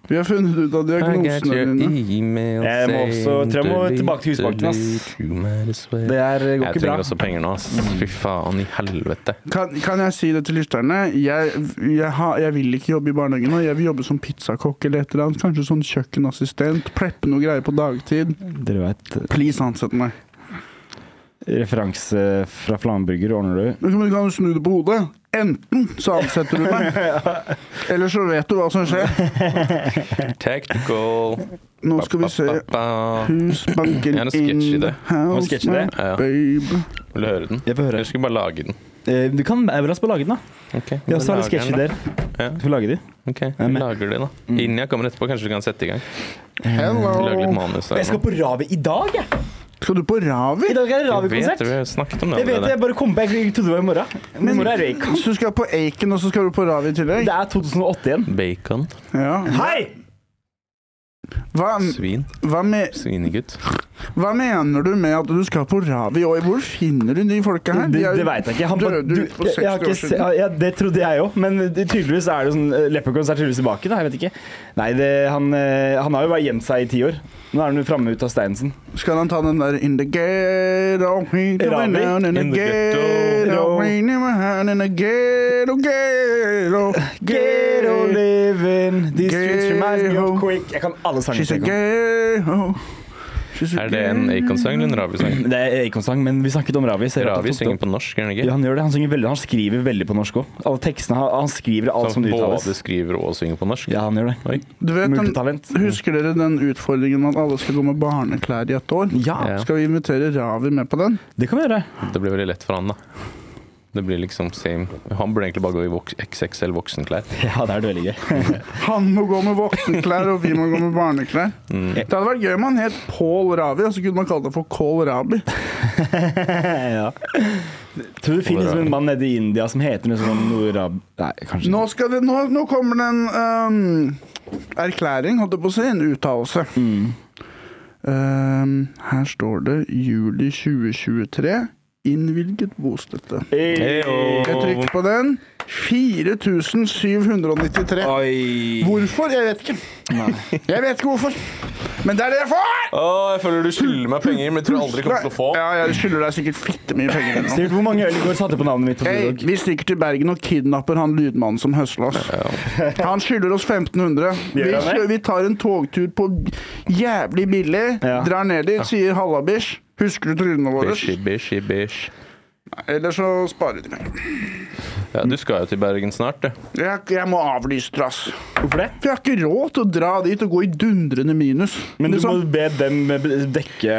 Vi har funnet ut av diagnosene dine.
Jeg
Jeg må også- tror jeg må tilbake til Husbanken, ass. Det er, eh, går ikke
Jeg
bra.
trenger også penger nå, ass. Fy faen i helvete.
Kan, kan jeg si det til lytterne? Jeg, jeg, har- jeg vil ikke jobbe i barnehagen nå. Jeg vil jobbe som pizzakokk eller et eller annet. Kanskje sånn kjøkkenassistent. Preppe noe greier på dagtid.
Dere vet, eh,
Please, ansett meg.
referanse fra Flamburger ordner du.
Men du kan jo snu det på hodet. Enten så ansetter du meg, (laughs) eller så vet du hva som skjer.
Technical
Nå skal vi se.
Ba-ba-ba-ba.
Husbanken
Ja, nå
in
sketsjer
the
det.
Nå
house,
sketsjer det.
my
Ja, ja.
babe.
Vil du høre den?
Jeg får høre.
Eller skal vi bare lage den?
Eh, Du kan Euras på å lage den, da.
Ok,
Vi
da Mm.
også har litt
lager jeg
sketsjer
den,
der.
Ja.
Du får lage de. Mm.
da. Ok,
er
vi
med.
lager det da. Innen jeg kommer etterpå, kanskje du kan sette i gang? Lage litt
Hello.
manus. eller
Jeg skal
noe.
på Ravi i dag, jeg.
Skal du på Ravi?
I dag er det
Jeg vet
Ravi-konsert.
det, vi har snakket om det.
Jeg vet det,
allerede.
jeg bare kom på Jeg trodde det var i morgen. Men i morgen er det Raycon.
Så du skal på Aiken, og så skal du på Ravi i tillegg?
Det er 2008 igjen.
Bacon,
Ja.
Hei!
Hva,
svin,
hva med
svinegutt.
Hva mener du med at du skal på Ravi Oi? Hvor finner du de folka her?
Det,
De er
det veit jeg ikke. Han,
døde
du,
ut på
jeg, jeg har
60 år
ikke se,
siden.
ja, det trodde jeg òg, men det- tydeligvis er det sånn eh, Leprechauns er tydeligvis tilbake. Da, jeg vet ikke. Nei, det, han, eh, han har jo bare gjemt seg i ti år. Nå er han jo framme ut av steinen sin.
Skal han ta den der In the ghetto, in
Ravi?
the ghetto, in the
In the
ghetto,
ghetto.
in the ghetto,
Ghetto
ghetto, ghetto.
living, these streets reminds me
Ghetto.
of quick Jeg kan alle sangene.
She's a
til Akon.
ghetto. She's a
Er det en
ghetto.
Acon-sang eller en Ravi-sang?
Det er Akon-sang, men vi snakket om Ravi. så jeg vet
Ravi
at-
synger på norsk, gjør han
ja,
ikke?
han gjør det. Han, synger veldig, han skriver veldig på norsk òg. Alle tekstene han- Han skriver alt
Så
som
han
det
både
uttales.
skriver og synger på norsk?
Ja, han gjør det.
Oi.
Du vet den
Multitalent.
Husker dere den utfordringen med at alle skal gå med barneklær i et år?
Ja,
Ja.
Skal vi invitere Ravi med på den?
det kan vi gjøre.
Det blir veldig lett for han, da. Det blir liksom same. Han burde egentlig bare gå i voks XXL voksenklær.
Ja, det er det veldig gøy.
Han må gå med voksenklær, og vi må gå med barneklær.
Mm.
Det hadde vært gøy om han het Pål Ravi, og så kunne man kalle det for Kål Rabi.
(laughs) ja. Tror du det finnes en mann nede i India som heter noe sånn norab... Nei, kanskje
Nå, skal det, nå, nå kommer det en ehm, erklæring, holdt jeg på å si, en uttalelse. Ehm, her står det juli 2023. Innvilget bostøtte.
Hey.
Jeg trykker på den. 4793.
Oi.
Hvorfor? Jeg vet ikke. Jeg vet ikke hvorfor. Men det er det jeg får!
Å, jeg føler du skylder meg penger, men jeg tror aldri
Ja, jeg skylder deg sikkert fitte mye penger. nå.
Sikkert hvor mange øl i går satte på navnet mitt på
Hei,
Bulldog?
vi stikker til Bergen og kidnapper han lydmannen som høsla oss. (laughs) Han skylder oss 1500. Vi,
Gjør han det?
kjø- vi tar en togtur på jævlig billig,
Ja.
drar ned dit, sier hallabisj. Husker du trynene våre?
Bish, bish, bish.
Eller så sparer de penger.
Ja, du skal jo til Bergen snart, du.
Jeg, jeg må avlyse det, ass.
Hvorfor det?
For jeg har ikke råd til å dra dit og gå i dundrende minus.
Men du må
Liksom.
be dem be- dekke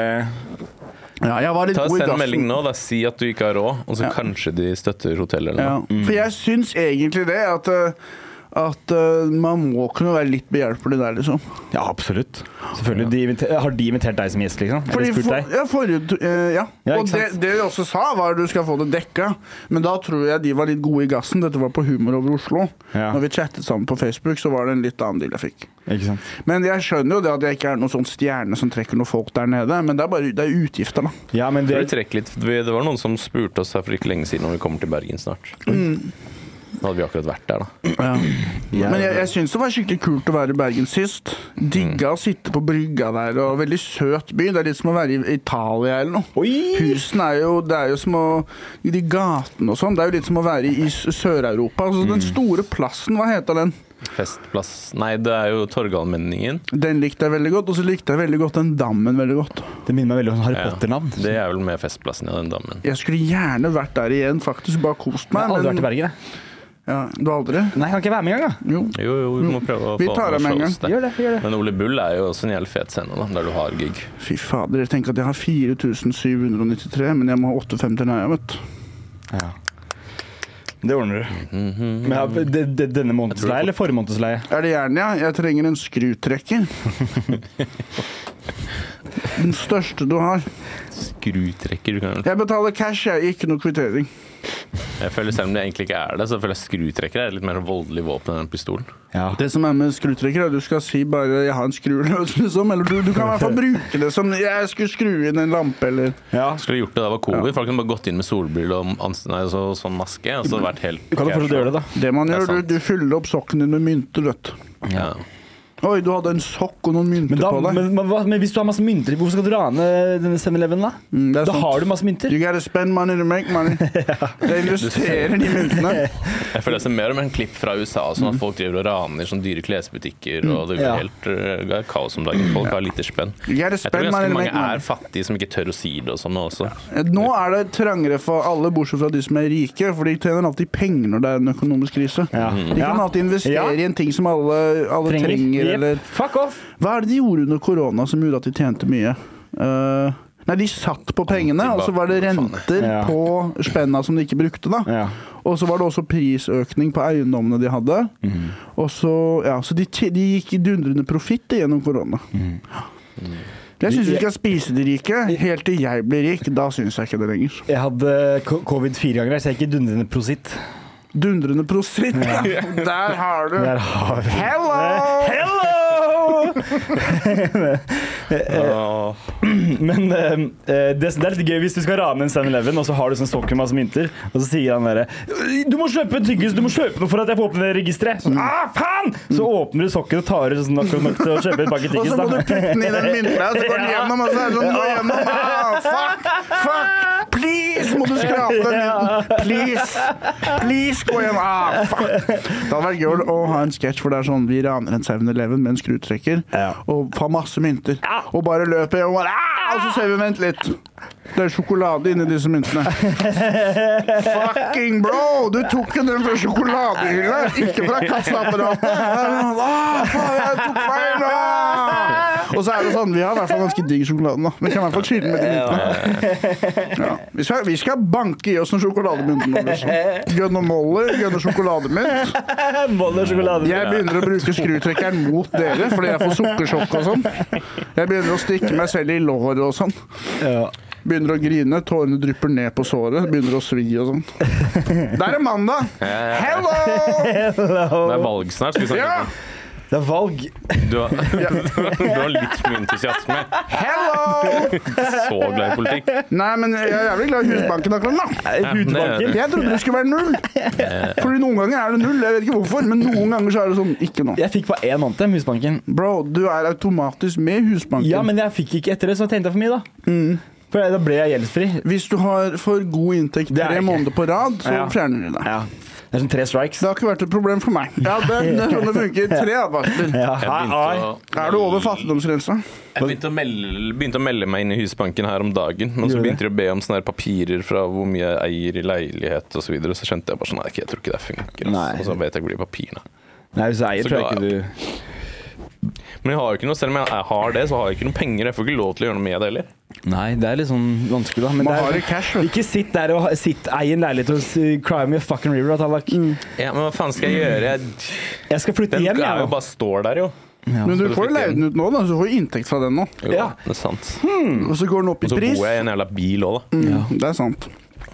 ja, jeg var litt
Ta
god i
Send
gassen.
melding nå, da. Si at du ikke har råd, og så
Ja.
kanskje de støtter hotellet eller
Ja.
noe.
Mm.
For jeg syns egentlig det, at, eh, at eh, man må kunne være litt behjelpelig der, liksom.
Ja, absolutt. Selvfølgelig. De inviter- har de invitert deg som gjest, liksom?
Fordi
Eller spurt
for,
deg?
ja, forrige, eh, ja.
Ja,
og
ikke
det,
sant?
det de også sa, var at du skal få det dekka. Men da tror jeg de var litt gode i gassen. Dette var på Humor over Oslo.
Ja.
Når vi chattet sammen på Facebook, så var det en litt annen deal jeg fikk.
Ikke sant?
Men jeg skjønner jo det at jeg ikke er noen sånn stjerne som trekker noen folk der nede. Men det er bare det er utgifter, da.
Ja, men
Tror du
det,
trekker litt Vi- Det var noen som spurte oss her for ikke lenge siden om vi kommer til Bergen snart. Da hadde vi akkurat vært der, da.
Men jeg, jeg syns det var skikkelig kult å være i Bergen sist.
Mm.
Digga å sitte på brygga der, og veldig søt by. Det er litt som å være i Italia eller noe.
Oi!
Husene er jo Det er jo som å i De gatene og sånn. Det er jo litt som å være i S- Sør-Europa. Altså,
Mm.
den store plassen, hva heter den?
Festplass Nei, det er jo Torgallmenningen.
Den likte jeg veldig godt. Og så likte jeg veldig godt den dammen veldig godt.
Det minner meg veldig om sånn Harry
Ja.
Potter-navn.
Det er vel med Festplassen, ja, den dammen.
Jeg skulle gjerne vært der igjen, faktisk. Bare kost
Jeg
meg.
har aldri
men-
vært i Bergen, jeg.
Ja, du har aldri?
Nei, jeg kan ikke være med engang, da.
Jo.
Jo, jo,
Mm.
vi må prøve å
Vi
få
tar dem en
shows
gang. Gjør det, gjør det.
Men Ole Bull er jo også en jævlig fet scene, da, der du har gig.
Fy fader, jeg tenker at jeg har 4793, men jeg må ha 85 til nøye, vet du.
Det ordner du.
Mhm.
Men ja, det, det, denne månedsleie eller forrige månedsleie?
Er det jernet, ja? Jeg trenger en
(laughs)
skrutrekker. Den største du har.
Skrutrekker. Du kan.
Jeg betaler cash, jeg. Ikke noe kvittering.
Jeg føler Selv om det egentlig ikke er det, så føler jeg skrutrekker er et litt mer voldelig våpen enn en pistol.
Ja.
Det som er med skrutrekker, er at du skal si bare 'jeg har en skru løs', (laughs) liksom. Eller du, du kan i hvert fall bruke det som 'jeg skulle skru inn en lampe', eller
ja.
Skulle gjort det da det var covid. Folk kunne bare gått inn med solbrille og ans- nei, så, sånn maske. Og så vært helt
Du kan jo fortsatt gjøre det, da.
Det man
Det er
gjør, du,
sant.
du fyller opp sokken din med mynter, vet du.
Ja.
Oi, du hadde en sokk og noen mynter
Men, da,
på deg.
men, men, hva- men hvis du har masse mynter, hvorfor skal du rane denne 7-Eleven da?
Mm, det er
Da
sant.
har du masse mynter.
You gotta spend money to make money. Det illustrerer de myntene.
Jeg føler jeg ser mer og mer en klipp fra USA sånn at folk driver og raner sånn dyre klesbutikker. Og
Mm.
det
Ja.
er helt eh, det er kaos om dagen. Folk har lite spenn.
You gotta
Jeg tror
spend money
ganske
to make
mange
money.
er fattige som ikke tør å si det og sånn også.
Nå er det trangere for alle, bortsett fra de som er rike, for de tjener alltid penger når det er en økonomisk krise.
Ja.
De kan
Ja.
alltid investere
Ja.
i en ting som alle, alle trenger,
Jep.
eller
Fuck off!
Hva er det de gjorde under korona som gjorde at de tjente mye? Eh, nei, de satt på pengene, og så var det renter
Ja.
på spenna som de ikke brukte, da.
Ja.
Og så var det også prisøkning på eiendommene de hadde. Og så, ja, så de, tje- de gikk i dundrende profitt gjennom korona. Jeg syns vi skal spise de rike helt til jeg blir rik. Da syns jeg ikke det lenger.
Jeg hadde ko- covid fire ganger, så jeg er ikke dundrende prositt.
Dundrende prosit! (laughs) Der har du
Der har vi
Hello!
Hello!
Åh.
(laughs) Men eh, eh, det, det er litt gøy hvis du skal rane en 7-Eleven, og så har du sånn stokk med masse mynter, og så sier han derre Du må kjøpe en tyggis, du må kjøpe noe for at jeg får åpne det registeret! Sånn, ah, faen! Så åpner du sokken og tar ut sånn akkurat nok til å kjøpe et pakke
(laughs) Og
tyggis.
så må du
da.
putte den i den mynta, og så går den gjennom, og så er det sånn, gå gjennom. Ah, fuck! Fuck! Please! Må du skrape den mynten? Please! Please, gå gjennom. Ah, fuck! Det hadde vært gøy å ha en sketsj hvor det er sånn vi raner en 7-Eleven med en skrutrekker
Ja.
og tar masse mynter, og bare løper og bare ah, Og så ser vi, vent litt. Det er sjokolade inni disse myntene. Fucking bro! Du tok jo den fra sjokoladehylla, ikke fra kasseapparatet! Ah, faen, jeg tok feil! Ah! Og så er det sånn, vi har i hvert fall ganske digg sjokolade nå. Vi kan i hvert fall chille med de myntene. Ja. Vi, skal, vi skal banke i oss en sjokolademynt nå, liksom. Gønne moller, gønne sjokolademynt.
Boller og sjokolade.
Jeg begynner å bruke skrutrekkeren mot dere fordi jeg får sukkersjokk og sånn. Jeg begynner å stikke meg selv i låret og sånn.
Ja.
Begynner å grine, tårene drypper ned på såret, begynner å svi og
(laughs)
sånn. Der er mandag! Hello!
Det er valg snart. Skal vi snakke
Ja!
om
Det er valg.
det? du, har, (laughs) du har litt for mye entusiasme.
Hello!
Så glad i politikk.
Nei, men jeg er jævlig glad i Husbanken akkurat nå.
Eh,
men det-
Hudbanken.
Jeg trodde det skulle være null. Fordi noen ganger er det null, jeg vet ikke hvorfor, men noen ganger så er det sånn, ikke nå.
Jeg fikk på én måned, Husbanken.
Bro, du er automatisk med i Husbanken.
Ja, men jeg fikk ikke etter det, så jeg tjente jeg for mye, da.
Mm.
For da ble jeg gjeldsfri.
Hvis du har for god inntekt
Det er
tre
ikke.
måneder på rad, så
Ja.
fjerner de deg.
Ja. Det er sånn tre strikes.
Det har ikke vært et problem for meg. Ja, Det, det er sånn det funker. Tre advarsler.
Ja.
Jeg begynte å,
Er du over fattigdomsgrensa?
jeg begynte å, melde, begynte å melde meg inn i Husbanken her om dagen, men
Gjorde
så
det.
begynte de å be om sånne her papirer fra hvor mye jeg eier i leilighet osv., så, videre, så skjønte jeg bare sånn Nei, jeg tror ikke det funker.
Nei.
Altså. Og så vet jeg hvor de papirene er.
Nei, hvis du eier,
Så
tror jeg
glad
ikke
jeg
du
Men jeg har jo ikke noe, selv om jeg jeg har det, så har jeg ikke noen penger. Jeg får ikke lov til å gjøre noe med det heller.
Nei, det er litt sånn vanskelig, da. Men
Man
det er,
har
sånn-
det i cash. vet du.
Ikke sitt der og ha- sitt, eie en leilighet hos eh, Crime of Fucking River. da, Tallak.
Mm.
Ja, Men hva faen skal jeg gjøre? Jeg,
Jeg skal flytte
den
hjem,
er jo
jeg.
bare står der, jo.
Men du
Så du
får
fikk
leid
en-
den ut nå, da, så du får inntekt fra den nå.
jo
Ja.
Det er sant.
Og så går den opp
Og
i
så
Hm,
bor
pris.
jeg i en jævla bil òg, da.
Mm, Det er sant.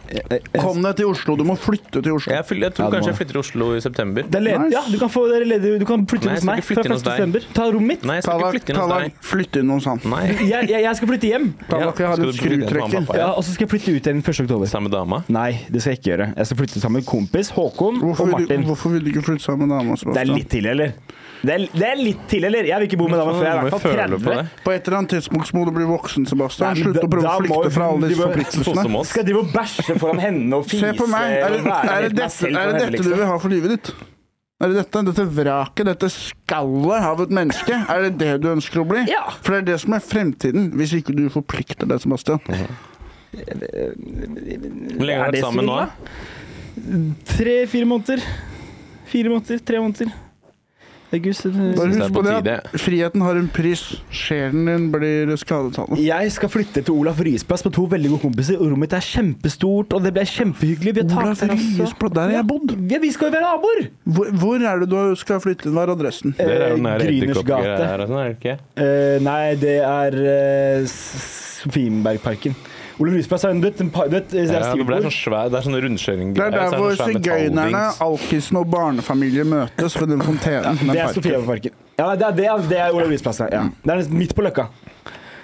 Eh,
Kom deg til Oslo. Du må flytte til Oslo.
Jeg, fyll- jeg tror
Ja, det må
kanskje
det.
jeg flytter til Oslo i september.
Det er ledig.
Nice.
Ja, du kan, få, det er ledig. Du kan flytte
Nei,
inn hos
jeg skal
meg fra
ikke flytte
1.
inn hos deg.
desember. Ta rommet mitt.
Nei, jeg skal ikke
Tallak,
flytte inn hos
Tallak,
deg.
flytt inn hos han.
Nei.
Jeg, jeg, jeg skal flytte hjem,
Tallak, jeg har
skal
en
du flytte inn hos mamma og
skrutrekker.
pappa?
ja, og så skal jeg flytte ut igjen 1. oktober.
Samme dama?
Nei, det skal jeg ikke gjøre. Jeg skal flytte sammen med kompis Håkon
Hvorfor
og
vil, du,
Martin.
hvorfor vil du ikke flytte sammen med dama?
Det er
Sebastian?
litt tidlig, eller? Det er, det er litt tidlig, eller? Jeg vil ikke bo med dama før jeg er i hvert fall 30.
På et eller annet tidspunkt så må du bli voksen,
Nei,
Sebastian.
men
Slutt
da-
å prøve
da
å
må
flykte fra
hun-
alle
de
disse
må-
Sånn
forpliktelsene.
som oss.
Skal jeg drive og bæsje foran henne og fise
Se på meg! Er det,
og være
er
helt
det,
meg
dette,
selv foran
er det
henne,
dette du
liksom?
vil ha for livet ditt? Er det dette, dette vraket, dette skallet av et menneske? Er det det du ønsker å bli?
Ja.
For det er det som er fremtiden, hvis ikke du forplikter deg, Sebastian.
Hvor lenge har dere vært sammen nå?
Tre-fire måneder. Fire måneder, tre måneder. August
Bare
synes det er
husk
på
på det
tide.
at friheten har en pris. Sjelen din blir skadetallet.
Jeg skal flytte til Olaf Ryes plass med to veldig gode kompiser. og Rommet mitt er kjempestort, og det blir kjempehyggelig. Vi har
Olav
takterrasse.
Ryes plass, der har jeg bodd.
Ja, vi skal jo være naboer!
Hvor, hvor er det du skal flytte? Hva er adressen?
Det er jo den der
Gryners
edderkoppgreia
Eh, gate.
her og sånn, er det ikke?
Eh, nei, det er eh, S- Sofienbergparken. Olaf Ryes plass er en- du vet, en par- du vet, det
Ja,
er
det ble
stivbord.
sånn svær, det er sånn rundkjøring
Det er der hvor sigøynerne, alkisen og barnefamilier møtes ved den fontenen. den
Det er
parken.
Sofienbergparken. Ja, det er, det er, det er Olav Ryes plass, ja. ja. Det er nesten midt på Løkka.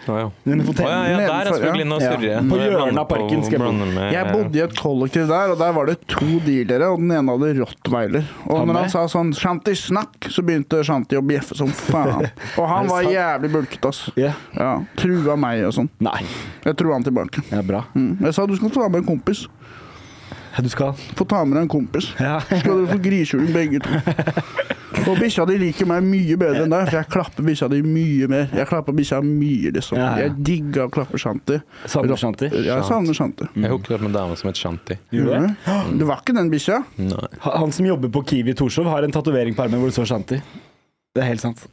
Å ja,
Den
Å, ja,
fontenen.
ja, der er
Nedenfor, Mm. ja.
spuglen og surre.
Ja. På hjørnet av parken skal jeg bo.
Jeg bodde i et kollektiv der, og der var det to dealere, og den ene hadde rottweiler. Og
Han
når
med?
han sa sånn 'Shanti, snakk', så begynte Shanti å bjeffe som faen. Og han var
sant?
jævlig bulkete, ass.
Ja.
Ja, Trua meg og sånn.
Nei.
Jeg trua han tilbake.
Ja, bra.
Mm. Jeg sa du skal ta med en kompis.
Du skal
Få ta med deg en kompis.
Ja.
Skal dere få grishjuling begge to. Og bikkja di liker meg mye bedre enn deg, for jeg klapper bikkja di mye mer. Jeg klapper bikkja mye, liksom.
Ja, ja.
Jeg digger å klappe Shanti.
Savner Shanti?
Ja, jeg savner Shanti.
Jeg hooket opp med en dame som het Shanti.
Mm.
Gjorde det?
Du var ikke den bikkja?
Nei.
Han som jobber på Kiwi i Torshov, har en tatovering på armen hvor det står Shanti. Det er helt sant.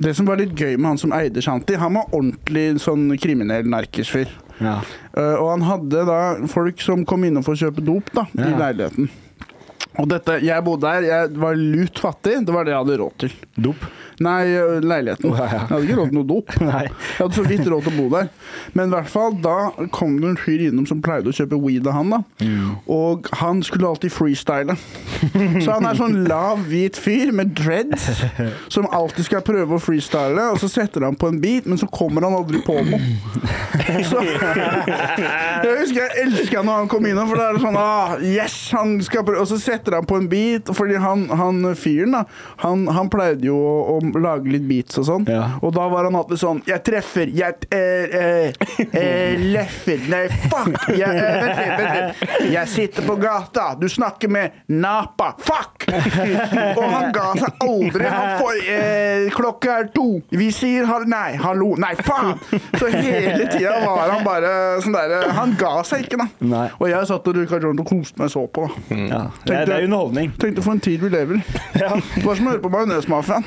Det som var litt gøy med han som eide Shanti, han var ordentlig sånn kriminell narkisfyr.
Ja.
Eh, og han hadde da folk som kom innom for å kjøpe dop da, i
Ja.
leiligheten. Og dette, jeg bodde der, jeg var lut fattig. Det var det jeg hadde råd til.
Dop?
Nei, leiligheten.
Ja, ja.
Jeg hadde ikke råd til noe
(laughs)
dop.
Nei.
Jeg hadde så vidt råd til å bo der. Men i hvert fall, da kom det en fyr innom som pleide å kjøpe weed av han. da.
Mm.
Og han skulle
(laughs)
alltid freestyle. Så han er sånn lav, hvit fyr med dreads
(laughs)
som alltid skal prøve å freestyle, og så setter han på en beat, men så kommer han aldri på noe. Så jeg husker jeg elska når han kom innom, for da er det sånn ah, Yes! Han skal prøve. Og så setter han på en beat, fordi han, han fyren, da, han, han pleide jo å, å lage litt beats og sånn.
Ja.
Og da var han alltid sånn Jeg treffer, jeg eh, eh, eh, leffer Nei, fuck! Jeg, eh, vent litt, vent litt. Jeg sitter på gata, du snakker med Napa. Fuck! Og han ga seg aldri. Han får eh, Klokka er to. Vi sier hal nei, hallo, nei, faen! Så hele tida var han bare sånn derre Han ga seg ikke, da.
Nei.
Og jeg satt og røyka joint og koste meg så på. da.
Ja. Mm. Det, er- det er underholdning.
Tenkte for en tid vi lever. Det var som å høre på Majonesmafiaen.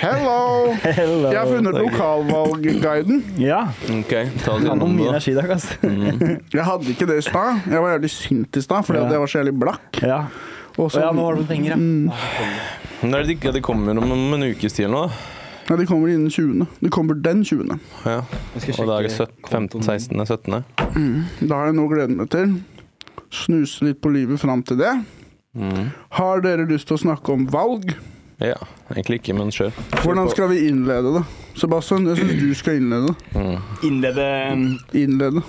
Hello!
Hello.
Jeg har funnet lokalvalgguiden.
Ja.
OK, ta oss
Han har
gjennom
mye
det.
energi i dag, ass.
Jeg hadde ikke det i stad. Jeg var jævlig sint i stad fordi
Ja.
at jeg var så jævlig blakk.
(laughs) Ja.
Og
Og
så,
ja, nå har du fått penger, ja.
Nei, det, ja, det kommer om en ukes tid eller noe.
ja, de kommer innen 20. De kommer den 20.
da. Ja. Og da er det 17, 15, 16, 17.
Da har jeg noe å glede meg til. Snuse litt på livet fram til det.
Mm.
Har dere lyst til å snakke om valg?
Ja, egentlig ikke, men kjør.
Hvordan skal vi innlede det? Sebastian, jeg syns du skal innlede det.
Mm.
Innlede mm,
Innlede.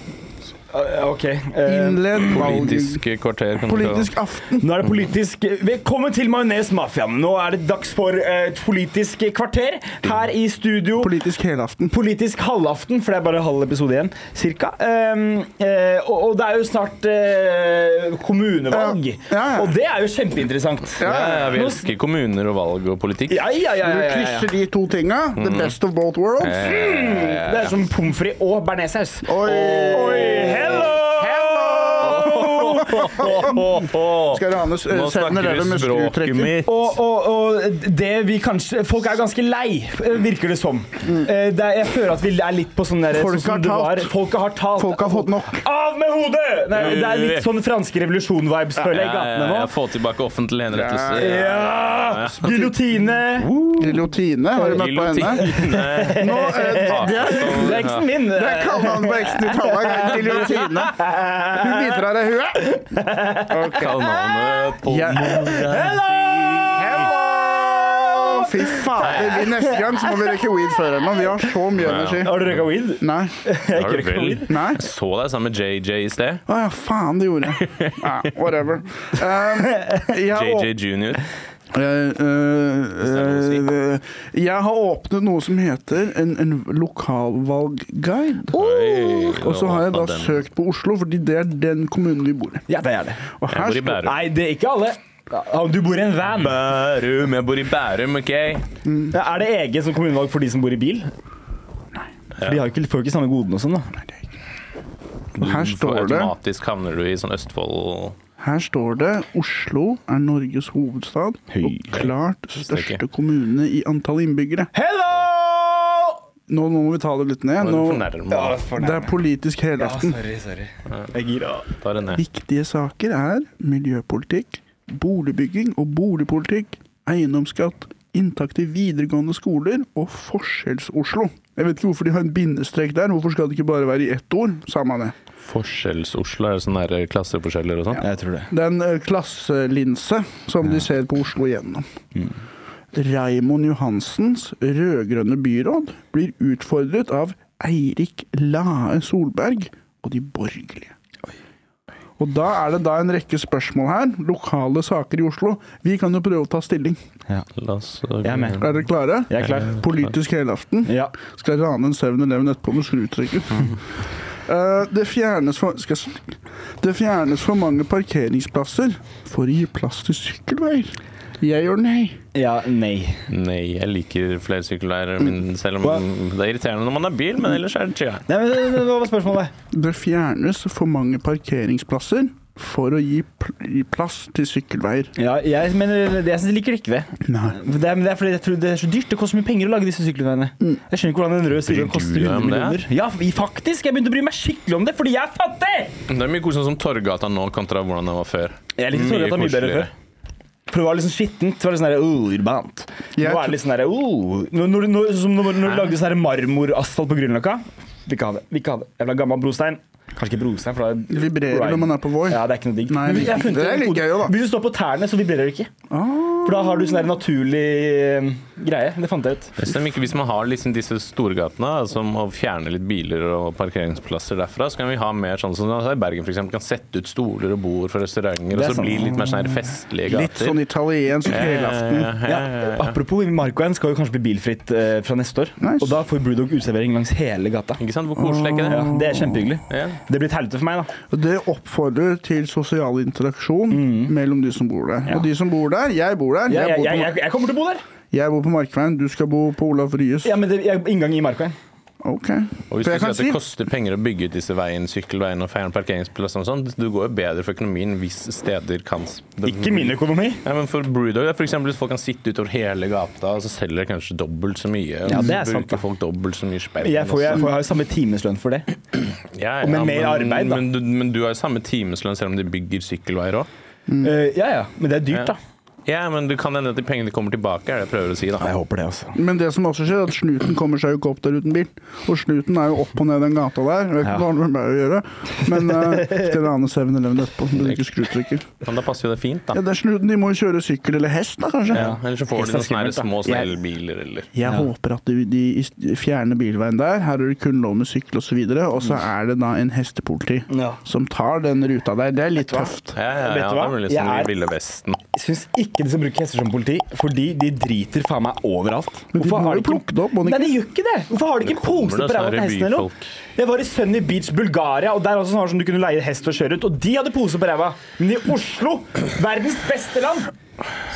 Eh, OK. eh,
Innled valget.
Politisk kvarter. Kan
Politisk aften.
Nå er det politisk Velkommen til Majones Mafiaen. Nå er det dags for eh, et politisk kvarter her i studio.
Politisk helaften.
Politisk halvaften, for det er bare halv episode igjen, cirka. Ehm, eh, og, og det er jo snart eh, kommunevalg,
Ja. Ja, ja.
og det er jo kjempeinteressant.
Ja, ja, ja, vi
Nå-
elsker kommuner og valg og politikk.
Ja, ja, ja,
Du
ja, ja, ja.
krysser de to tinga. The
Mm.
best of both worlds.
Eh.
Det er som pommes frites og bearnéssaus.
Oi.
Hello!
(laughs)
Skal Johannes eh,
Nå
sende
snakker
dere
du
med
språket
skrutrekker?
mitt.
Og, og, og det vi kanskje Folk er ganske lei, virker det som. Eh, Det er, jeg føler at vi er litt på sånn der
Mm. Folk
sånn som
har
det
talt.
var. Folk har talt.
Folk har fått nok.
Av med hodet! Nei, det er litt sånn franske revolusjon-vibes, føler jeg, i gatene nå.
Få tilbake offentlige henrettelser.
Ja! Giljotine.
Giljotine, har du møtt på henne?
(laughs) Guillotine.
Nå, eh, (laughs) det er
Det er eksen min. eh.
Det er kallenavnet på eksen til Tallak. Giljotine. Hun biter av deg huet.
Kallenavnet på
Ja. Hello! Fy fader. vi- Neste gang så må vi røyke weed før henne. Vi har så mye energi.
Har du røyka weed?
Nei.
Har du
røyker
vel?
covid.
Nei.
Jeg så deg sammen med JJ i sted.
Å ja, faen, det gjorde jeg. Ja, whatever. Um, jeg, har åp-
JJ junior.
Eh, eh, eh, jeg har åpnet noe som heter en, en lokalvalgguide.
Oi,
Og så har jeg da
åpnet den.
søkt på Oslo, fordi det er den kommunen vi bor i.
Ja, det er det.
Og
Jeg bor i
står-
Bærum.
Nei, det er ikke alle. Ja, Du bor i en van.
Bærum, jeg bor i Bærum, OK?
Er det eget som kommunevalg for de som bor i bil? For de har jo ikke, får jo ikke samme godene og sånn, da.
Du
Her
får-
står det
Automatisk havner du i sånn Østfold
Her står det Oslo er Norges hovedstad og klart største kommune i antall innbyggere.
Hello!
Nå, nå må vi ta det litt ned.
Nå
Nå,
fornærmer
det er politisk helaften.
Jeg er gira.
Ta det ned.
Viktige saker er miljøpolitikk, boligbygging og boligpolitikk, eiendomsskatt, inntak til videregående skoler og Forskjells-Oslo. Jeg vet ikke hvorfor de har en bindestrek der. Hvorfor skal det ikke bare være i ett ord? Samme det.
Forskjells-Oslo er sånn der klasseforskjeller og sånn.
Jeg tror det.
Det er en ø, eh, klasselinse som de ser på Oslo igjennom.
Mm.
Raimond Johansens rød-grønne byråd blir utfordret av Eirik Lae Solberg og de borgerlige. Og da er det da en rekke spørsmål her. Lokale saker i Oslo. Vi kan jo prøve å ta stilling.
La oss eh,
Jeg er med.
Er dere klare?
Jeg er klar.
Politisk helaften.
Ja.
Skal rane en 7-Eleven etterpå med skrutrekker. (laughs) Eh, det, fjernes for, skal, jeg s- det fjernes for mange parkeringsplasser for å gi plass til sykkelveier. Jeg gjør nei.
Ja, nei.
Nei, jeg liker flere sykkelveier, men selv om det er irriterende når man har bil, men ellers er det chill.
Nei, men Hva var eh, spørsmålet?
Det fjernes for mange parkeringsplasser for å gi, pl gi plass til sykkelveier.
Ja, jeg, men det, jeg synes jeg liker det ikke ved.
Nei.
Det er, men det er fordi jeg tror det er så dyrt. Det koster mye penger å lage disse sykkelveiene. Jeg skjønner ikke hvordan den røde sykkelen
Bryr du
koster
deg
100
om det?
millioner. Ja, vi- faktisk! Jeg begynte å bry meg skikkelig om det, fordi jeg er fattig!
Det er mye koselig som Torgata nå kontra hvordan det var før.
Jeg likte Torgata mye bedre før. For det var liksom skittent. Det var litt sånn der, uh, urbant. nå er
Jeg tror-
det litt sånn der, uh. Når, når, når, som når, når du lagde sånn der marmorasfalt på Grünerløkka Vi ikke ha det. Vi ikke ha det. Jævla gammel brostein. Kanskje ikke brostein, for da
Vibrerer når man er på Voi.
Ja, det er ikke noe digg.
Nei,
Men jeg har funnet
det er
en
litt
kode.
gøy også, da.
Hvis du står på tærne, så vibrerer det ikke. For da har du sånn der naturlig eh, greie. Det fant jeg ut.
Stemmer ikke. Hvis man har liksom disse storgatene som å fjerne litt biler og parkeringsplasser derfra, så kan vi ha mer sånn som altså, i Bergen f.eks. Kan sette ut stoler og bord for restauranter,
Det er
og så
sant.
blir det litt mer sånn her festlige gater. Eh,
Litt sånn italiensk
Ja,
helaften.
ja,
Ja,
ja, ja, ja.
apropos, Markoen skal jo kanskje bli bilfritt eh, fra neste år.
Nice.
Og da får Brewdog uteservering langs hele gata.
Ikke sant? Hvor koselig er ikke
Ja,
det?
det er kjempehyggelig.
Ja.
Det blir et helvete for meg, da.
Og Det oppfordrer til sosial interaksjon mellom de som bor der.
Mm. Ja.
Og de som bor der Jeg bor der.
Jeg,
Jeg
jeg,
bor på,
jeg,
Mar-
jeg, jeg kommer til å bo der!
jeg bor på Markveien. Du skal bo på Olav Ryes.
Ja, men det, jeg, Inngang i Markveien.
Ok.
Og hvis
For
du
jeg
sier
kan
at det
si
koster penger å bygge ut disse veiene, sykkelveiene og fjerne parkeringsplasser og sånn, det går jo bedre for økonomien hvis steder kan
Ikke min økonomi.
Nei, men for Brewdog, det er for eksempel hvis folk kan sitte utover hele gata, og så selger de kanskje dobbelt så mye. og
Ja, det
så
er sant, da.
Bruker folk dobbelt så mye spenn.
Jeg, får, jeg,
også.
får, jeg har jo samme timeslønn for det.
Ja,
og med
ja,
mer arbeid, da.
Men du, men du har jo samme timeslønn selv om de bygger sykkelveier òg.
Eh, ja ja, men det er dyrt,
Ja.
da.
Ja, men det kan hende at de pengene kommer tilbake, er det jeg prøver å si, da.
Jeg håper det, altså.
Men det som også skjer, er at snuten kommer seg jo ikke opp der uten bil. Og snuten er jo opp og ned den gata der. Jeg vet ikke hva det har med meg å gjøre, men eh,
(laughs)
til en annen 7-Eleven etterpå som bruker skrutrekker.
Men da passer jo det fint,
Ja,
da.
det er snuten. De må jo kjøre sykkel eller hest, da, kanskje.
Ja, eller så får
Ekstra
de noen sånne her
skummelt, da.
små sånne
Jeg-
elbiler, eller
Jeg håper at de, de is- fjerner bilveien der. Her er det kun lov med sykkel osv. Og så
Mm.
er det da en hestepoliti
Ja.
som tar den ruta der. Det er litt tøft.
Ja, ja,
Vet
ja,
du
da
hva?
blir det
Jeg
liksom
er-
i Ville Vesten.
Jeg syns ikke de skal bruke hester som politi, fordi de driter faen meg overalt.
Men de
Hvorfor
må
har
jo
ikke-
plukke det opp, må de
Nei, de gjør ikke det! Hvorfor har de ikke en
kommer
pose
det
på ræva
sånne
til hesten eller noe?
revyfolk.
Jeg var i Sunny Beach, Bulgaria, og der også sånn som du kunne leie hest og kjøre ut, og de hadde pose på ræva. Men i Oslo, verdens beste land,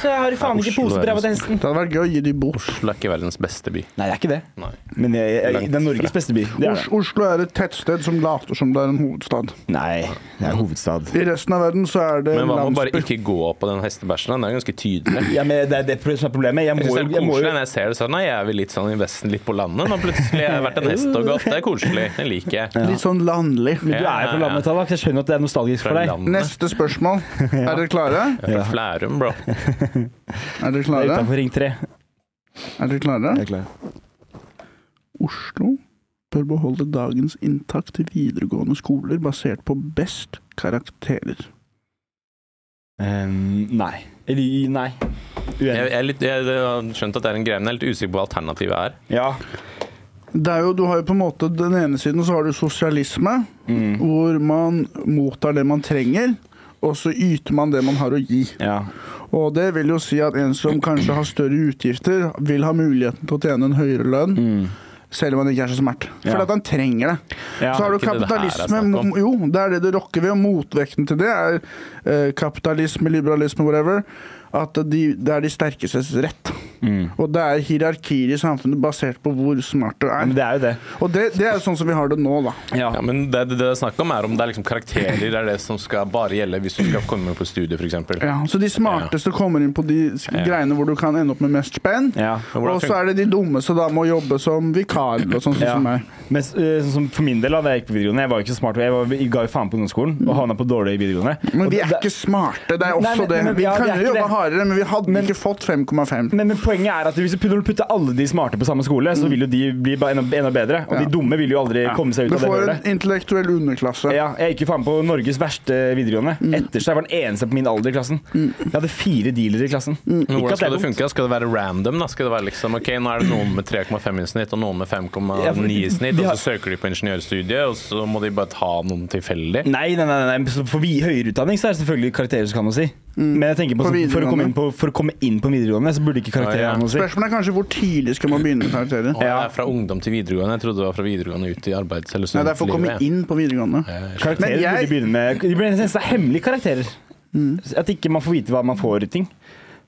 så har de faen
Ja,
ikke
Oslo
pose
er
på ræva til
det
hesten.
Det hadde vært gøy å gi de bot.
Oslo er ikke verdens beste by.
Nei, det er ikke det.
Nei.
Men jeg, jeg,
Langt
det er Norges beste by. Det er
Os
det.
Oslo er et tettsted som later som det er en hovedstad.
Nei, det er hovedstad.
I resten av verden så er det
Men
en
hva med bare
landsby.
ikke gå på den hestebæsjen? da? Den er ganske tydelig.
Ja, men det er det som er problemet. Jeg må,
Jeg synes det
jo-
er
jeg må
koselig
jo
når jeg ser det sånn. Nei, jeg er vel litt sånn i Vesten, litt på landet. Nå plutselig har jeg vært en hest og gått. Det er koselig. Det liker jeg.
Litt sånn landlig.
Du er jo fra landet, Tallak, så jeg skjønner at det er nostalgisk for
Fra
deg.
landet.
Neste (laughs) spørsmål. Er dere klare?
Fra Flærum, bro.
Er dere
Det er
klare?
utenfor Ring 3.
Er dere klare?
Jeg er klar.
Oslo bør beholde dagens inntak til videregående skoler basert på best karakterer.
Um, nei. Eller i- nei. Uenig.
Jeg, jeg, er litt, jeg, har skjønt at det er en greie, men jeg er litt usikker på hva alternativet er.
Ja.
Det er jo, du har jo på en måte Den ene siden så har du sosialisme,
Mm.
hvor man mottar det man trenger, og så yter man det man har å gi.
ja.
Og det vil jo si at en som kanskje har større utgifter, vil ha muligheten til å tjene en høyere lønn.
Mm.
Selv om han ikke er så smart. For
Ja.
at han trenger det.
Ja,
så har du
ikke det det her er
kapitalisme.
snakk om.
jo, det er det du rokker ved. Og motvekten til det er eh, kapitalisme, liberalisme, whatever. At de, det er de sterkestes rett.
Mm.
Og det er hierarkier i samfunnet basert på hvor smart du
Men
er.
det er jo det.
Og det, det er jo sånn som vi har det nå, da.
Ja.
Ja, men det det det er snakk om, er om det er liksom karakterer det er det som skal bare gjelde hvis du skal komme på studiet, f.eks.
Ja, så de smarteste kommer inn på de s- greiene hvor du kan ende opp med mest spenn.
Ja.
Men hvordan
Og så
funker-
er det de dumme som da må jobbe som vikar eller sånn sånn
Ja.
som meg.
Men s- eh, sånn som for min del, da da jeg gikk på videregående, jeg var jo ikke så smart. og Jeg, var, jeg ga jo faen på ungdomsskolen og havna på dårlig i videregående.
Mm. Men
Og
vi
det-
er ikke smarte, det er
Nei,
også
men-
det.
men-
Vi
ja, vi
kan
er
jo
ikke
jobbe
det.
hardere, men vi hadde ikke fått 5,5.
men, men poenget er at hvis du putter- putter alle de smarte på samme skole, så vil jo de bli ba- enda, enda bedre. Og
Mm.
de
Ja.
dumme vil jo aldri komme seg ut
Du
av det
får
hullet.
en intellektuell underklasse.
Ja, jeg gikk jo faen på Norges verste videregående.
Mm.
Etter seg var den eneste på min alder i klassen. Jeg hadde fire dealere i klassen.
Mm.
Men
Ikke
hvordan
at det
skal
er
det
dumt.
funke? da? Skal det være random? da? Skal det være liksom, ok, Nå er det noen med 3,5 i snitt og noen med 5,9
Ja, for de-
i snitt,
de
og
har-
så søker de på ingeniørstudiet, og så må de bare ta noen tilfeldig?
Nei, nei, nei, nei. så for vi, høyere utdanning så er det selvfølgelig karakterer som kan noe å si. Men jeg tenker på,
Mm. På
så, for, å komme
videregående.
inn på, for å komme inn på videregående, så burde ikke karakterer
Ja, ja.
ha noe å si.
Spørsmålet er kanskje hvor tidlig skal man begynne med karakterer?
Å, det er fra ungdom til videregående. Jeg trodde det var fra videregående ut i arbeids- eller
Nei, det er for å komme
studentlivet.
inn på videregående.
Karakterer
Men jeg- Mm.
burde begynne med De burde nesten ha hemmelige karakterer. At ikke man får vite hva man får i ting.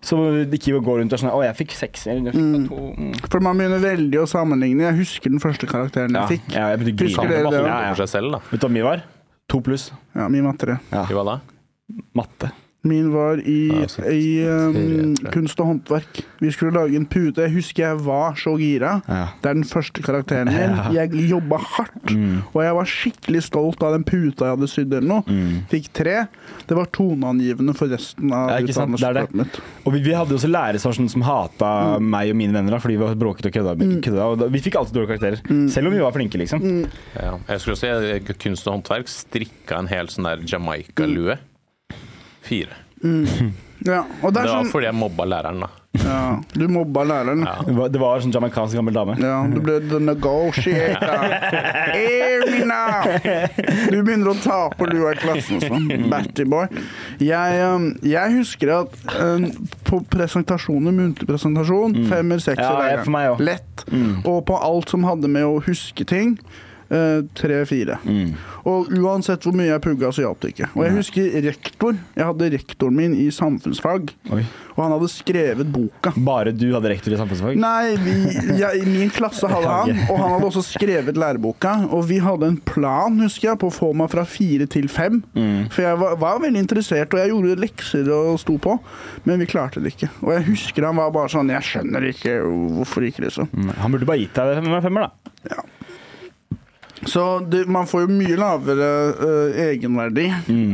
Så det ikke går rundt og er sånn Å, jeg fikk seks. Eller, jeg fikk to. Mm.
For man begynner veldig å sammenligne. Jeg husker den første karakteren
Ja,
jeg fikk.
ja, jeg begynte å
Husker
grine.
dere det?
Bare holde
Ja, ja.
for seg selv, da.
Vet du hva mye var? To pluss.
Ja, min matte.
I hva da?
Matte.
Min var i,
Ja, så-
i um,
Teori, tror jeg.
kunst og håndverk. Vi skulle lage en pute. Jeg husker jeg var så gira.
Ja.
Det er den første karakteren min. Jeg jobba hardt,
Mm.
og jeg var skikkelig stolt av den puta jeg hadde sydd. eller noe. Fikk tre. Det var toneangivende for resten
Mm.
av
Ja, ikke sant? Det er det.
utdannelsesprogrammet mitt.
Og vi, vi hadde jo også lærere som, var sånn som hata
Mm.
meg og mine venner da, fordi vi var bråkete og kødda. kødda og da, vi fikk alltid dårlige karakterer,
Mm.
selv om vi var flinke, liksom.
Ja. Jeg husker også jeg, kunst og håndverk strikka en hel sånn der Jamaica-lue. Fire.
Ja, og det er
Det var
sånn
fordi jeg mobba læreren, da.
ja, Du mobba læreren.
Ja.
Det var- Det var sånn jamaicansk gammel dame.
Ja, du ble the negotiator. Hear me now! Du begynner å tape lua i klassen og sånn. Batty boy. Jeg, um, jeg husker at um, på presentasjoner, muntlig presentasjon, femmer, sekser
Mm. Ja,
hver
jeg-
gang.
for meg også. Mm.
Lett. Og på alt som hadde med å huske ting. eh, Tre-fire.
Mm.
Og uansett hvor mye jeg pugga, så hjalp det ikke. Og jeg husker rektor. Jeg hadde rektoren min i samfunnsfag,
Oi.
og han hadde skrevet boka.
Bare du hadde rektor i samfunnsfag?
Nei, vi, jeg, min klasse hadde han, og han hadde også skrevet læreboka. Og vi hadde en plan, husker jeg, på å få meg fra fire til fem. For jeg var, var veldig interessert, og jeg gjorde lekser og sto på, men vi klarte det ikke. Og jeg husker han var bare sånn Jeg skjønner ikke hvorfor ikke, liksom.
Mm. Han burde bare gitt deg det med femmer, da.
Så det, man får jo mye lavere eh, egenverdi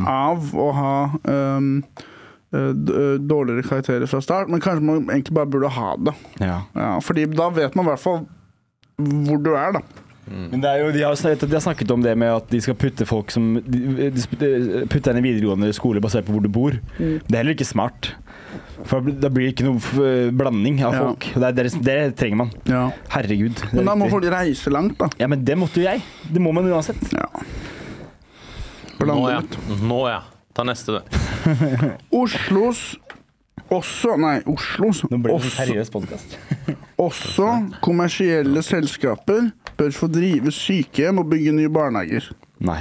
av å ha ehm, eh, d- eh, dårligere karakterer fra start, men kanskje man egentlig bare burde ha det.
Ja.
Ja, fordi da vet man i hvert fall hvor du er, da.
Mm. Men det er jo, de, har, snak- de har snakket om det med at de skal putte folk som de, de sp- Putte henne i videregående skole basert på hvor du bor.
Mm.
Det er heller ikke smart. For da blir- da blir det ikke noe f- blanding av
Ja.
folk. Det, er, det, er- det trenger man.
Ja.
Herregud. det er
Men da må
viktig.
folk reise langt, da.
Ja, men det måtte jo jeg. Det må man uansett.
Ja.
Sånn
Nå,
Blande
ja.
litt.
Nå, ja. Ta neste, du.
Oslos også Nei, Oslos
Nå ble det en
også,
seriøs podkast.
også kommersielle selskaper bør få drive sykehjem og bygge nye barnehager.
Nei.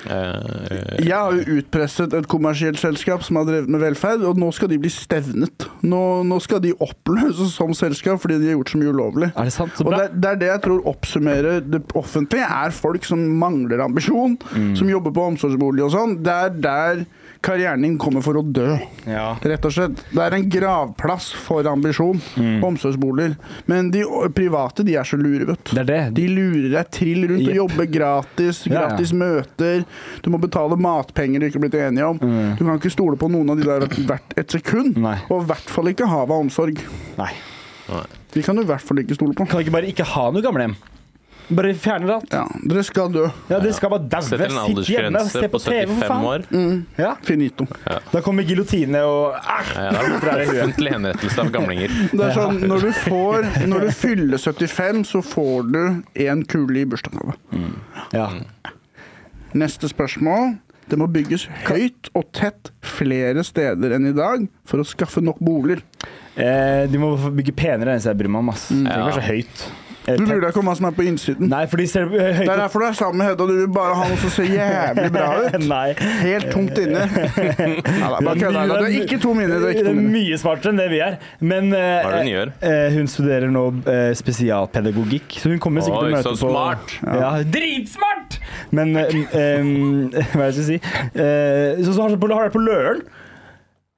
Eh,
Jeg har jo utpresset et kommersielt selskap som har drevet med velferd, og nå skal de bli stevnet. Nå, nå skal de oppløses som selskap fordi de har gjort så mye ulovlig.
Er det sant? Så
Og det,
bra.
er- det er det jeg tror oppsummerer det offentlige, er folk som mangler ambisjon,
Mm.
som jobber på omsorgsbolig og sånn. Det er der karrieren din kommer for å dø.
Ja.
Rett og slett. Det er en gravplass for ambisjon.
Mm.
Omsorgsboliger. Men de o- private, de er så lure, vet du.
Det er det.
De lurer deg trill rundt og
Jepp.
jobber gratis.
Ja, ja.
Gratis møter. Du må betale matpenger du ikke er blitt enige om. Du kan ikke stole på noen av de der hvert et sekund.
Mm. Nei.
Og i hvert fall ikke havet av omsorg.
Nei.
De kan du i hvert fall ikke stole på.
Kan ikke bare ikke ha noe gamlehjem? Bare fjerne det alt.
Ja, dere skal dø.
Ja, det skal bare daue.
Setter en
Sitt hjemme og
aldersgrense
se
på
på TV, for
75
faen.
år.
Ja.
Finito.
Da kommer giljotine og ah,
Ja, det er en offentlig henrettelse av gamlinger.
Det er sånn, når du, får, når du fyller 75, så får du én kule i bursdagsgave.
Ja.
Neste spørsmål. Det må bygges høyt og tett flere steder enn i dag for å skaffe nok boliger.
Eh, de må bygge penere enn jeg bryr meg om, ass. Det er
Ja.
kanskje høyt. Eh,
Du
tett.
bryr deg ikke om hva som er på innsiden.
Nei, fordi ser du eh,
Det
høyt
er derfor du er sammen med Hedda. Du vil bare ha noe som ser jævlig bra
(laughs)
ut.
Nei.
Helt tungt (laughs) inne. Nei, da, bare
Det er
kødder jeg.
mye-
Du er ikke tom inne. Du er
Det
ikke
er
tom inne.
mye smartere enn det vi er. Men eh,
Hva er det hun gjør?
eh, hun studerer nå eh, spesialpedagogikk, så hun kommer sikkert til å
Oi,
møte
så
på
smart!
Ja, dritsmart! Men eh, em, (laughs) hva er det jeg skal si Eh, Så så har du på- har du vært på Løren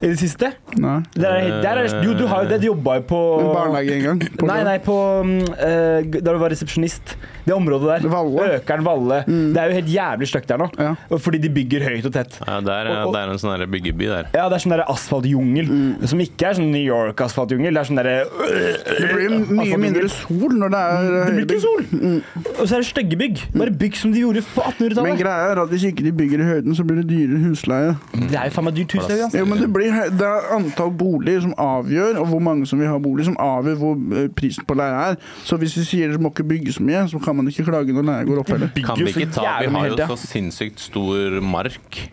i det siste.
Nei.
Der er, der er, jo, du har jo det. Du jobba jo på
En barnehage en gang. på
Nei,
lørdag.
nei, på mm, eh, Da du var resepsjonist. Det området der.
Valle. Mm.
Økeren Valle. Det er jo helt jævlig stygt der nå.
Ja.
Og Fordi de bygger høyt og tett.
Ja, det, er, det er en sånn der byggeby der.
Ja, det er sånn der asfaltjungel.
Mm.
Som ikke er sånn New York-asfaltjungel. Det er sånn derre
Altså, Det blir mye mindre sol når det er
Det blir
høyere
ikke
bygg.
sol! Og så er det stygge bygg. Bare bygg som de gjorde på
Mm. Men
1800-tallet.
greia er at hvis ikke de bygger i høyden, så blir det dyrere husleie.
Det er jo faen meg dyrt hus. det, ja.
Jo, men det, blir, det er antall boliger som avgjør, og hvor mange som vil ha bolig, som avgjør hvor eh, prisen på leie er. Så hvis vi sier det må ikke bygge så mye, så kan man ikke klage når leia går opp heller.
Kan vi
jo så
ikke ta Vi
jævlig
har
hele
jo
tida.
så sinnssykt stor mark.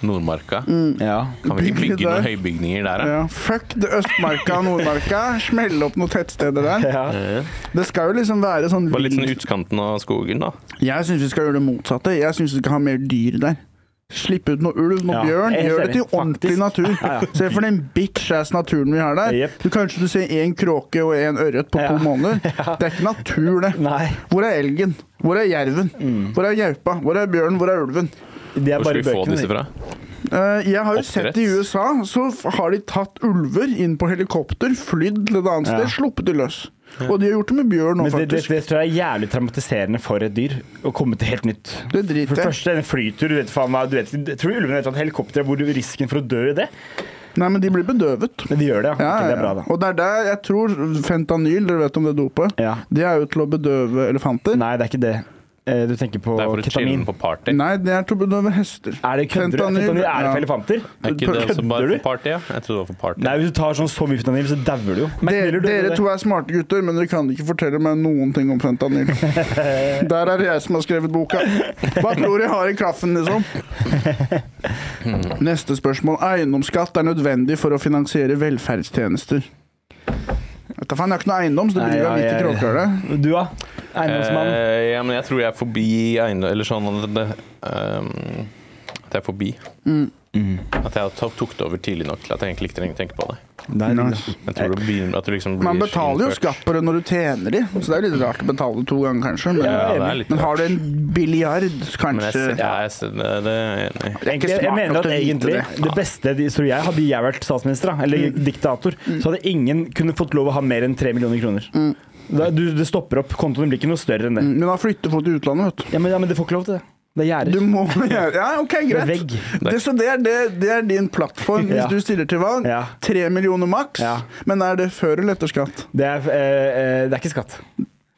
Nordmarka.
Ja.
Kan vi ikke
Bygge
bygge noen
der.
høybygninger der, da?
Ja, fuck det Østmarka og Nordmarka. Smell opp noen tettsteder der.
Ja.
Det skal jo liksom være sånn
Bare litt sånn utkanten av skogen, da.
Jeg syns vi skal gjøre det motsatte. Jeg syns vi skal ha mer dyr der. Slippe ut noe ulv, noe
Ja,
bjørn.
jeg er helt
Gjør det til
enig,
ordentlig
faktisk.
natur.
Ja, ja.
Se for den bitch-ass naturen vi har der.
Jepp.
Du Kanskje du ser én kråke og én ørret
(laughs)
på
Ja.
to måneder. Det er ikke natur, det.
Nei. Mm.
Hvor er elgen? Hvor er jerven? Hvor er gaupa? Hvor er bjørnen? Hvor er ulven?
Det er
Hvor
bare
skal vi få
bøkene.
disse fra?
Eh, Jeg har jo sett i
Oppdretts.
USA, så f- har de tatt ulver inn på helikopter, flydd til et annet
Ja.
sted, sluppet de løs. Og de har gjort det med bjørn nå,
Men det, det,
faktisk.
det tror jeg er jævlig traumatiserende for et dyr å komme til helt nytt.
Det
For det
driter jeg
første, en flytur, du vet faen meg du vet, jeg Tror ulvene vet at helikopter hvor du- risken for å dø i det?
Nei, men de blir bedøvet.
Men de gjør det, ja.
Ja,
Ok,
ja,
det er bra,
ja.
da.
Og det er der jeg tror fentanyl, dere vet om det dopet,
Ja.
det er jo til å bedøve elefanter. Nei,
Nei, det er ikke det. Eh, Du tenker på
Det er for å chille
ketamin.
på party.
det er til å bedøve hester.
Er det kødder? du?
Fentanyl,
Fentanyl er det
ja.
for elefanter?
Er ikke det også
Kødder
bare
du?
for party? Ja? Jeg trodde det var for party.
Nei, hvis du tar sånn så mye fentanyl, så dauer du jo. Mac
Dere,
Miller døde av
dere
det.
to er smarte gutter, men dere kan ikke fortelle meg noen ting
(laughs)
om fentanyl. Der er det jeg som har skrevet boka. Hva tror jeg har i kaffen, liksom?
Hmm.
Neste spørsmål. Eiendomsskatt er nødvendig for å finansiere velferdstjenester. Vet da faen, jeg har ikke noe eiendom, så det
Nei,
blir
ja,
vel litt
jeg-
kråkehøle.
Du, da? Eiendomsmann.
Eh, ja, men jeg tror jeg er forbi eiendom... Eller sånn at det, ehm, at jeg er forbi.
Mm.
At jeg tok- tok det over tidlig nok til at jeg egentlig ikke trenger å tenke på det.
Nei,
nice.
Jeg tror det begynner, at du liksom blir
Eh, Man betaler jo
innført.
skatt på det når du tjener i, så det er jo litt rart å betale to ganger, kanskje. Men,
Ja, det er litt
men har du en biljard,
Men jeg,
kanskje
ser- ja, jeg, ser- det, det er jeg enig
Det
i.
er
Jeg,
ikke
jeg
smart
mener
nok
at
til å vite
egentlig
det. Mm.
det beste de- tror jeg, Hadde jeg vært statsminister, da, eller diktator, så hadde ingen kunne fått lov å ha mer enn tre millioner kroner.
Mm.
Da, du, det stopper opp. Kontoen blir ikke noe større enn det.
Men da flytter folk til utlandet, vet du.
Ja, men, ja, men det får ikke lov til det. Det er
Du
gjerder.
må (laughs) gjøre Ja, OK,
Det er
greit.
vegg.
Det, så det, er det, det er din plattform hvis
Ja.
du stiller til valg.
Ja.
Tre millioner maks.
Ja.
Men er det før eller etter skatt?
Det er, eh, eh, det er ikke skatt.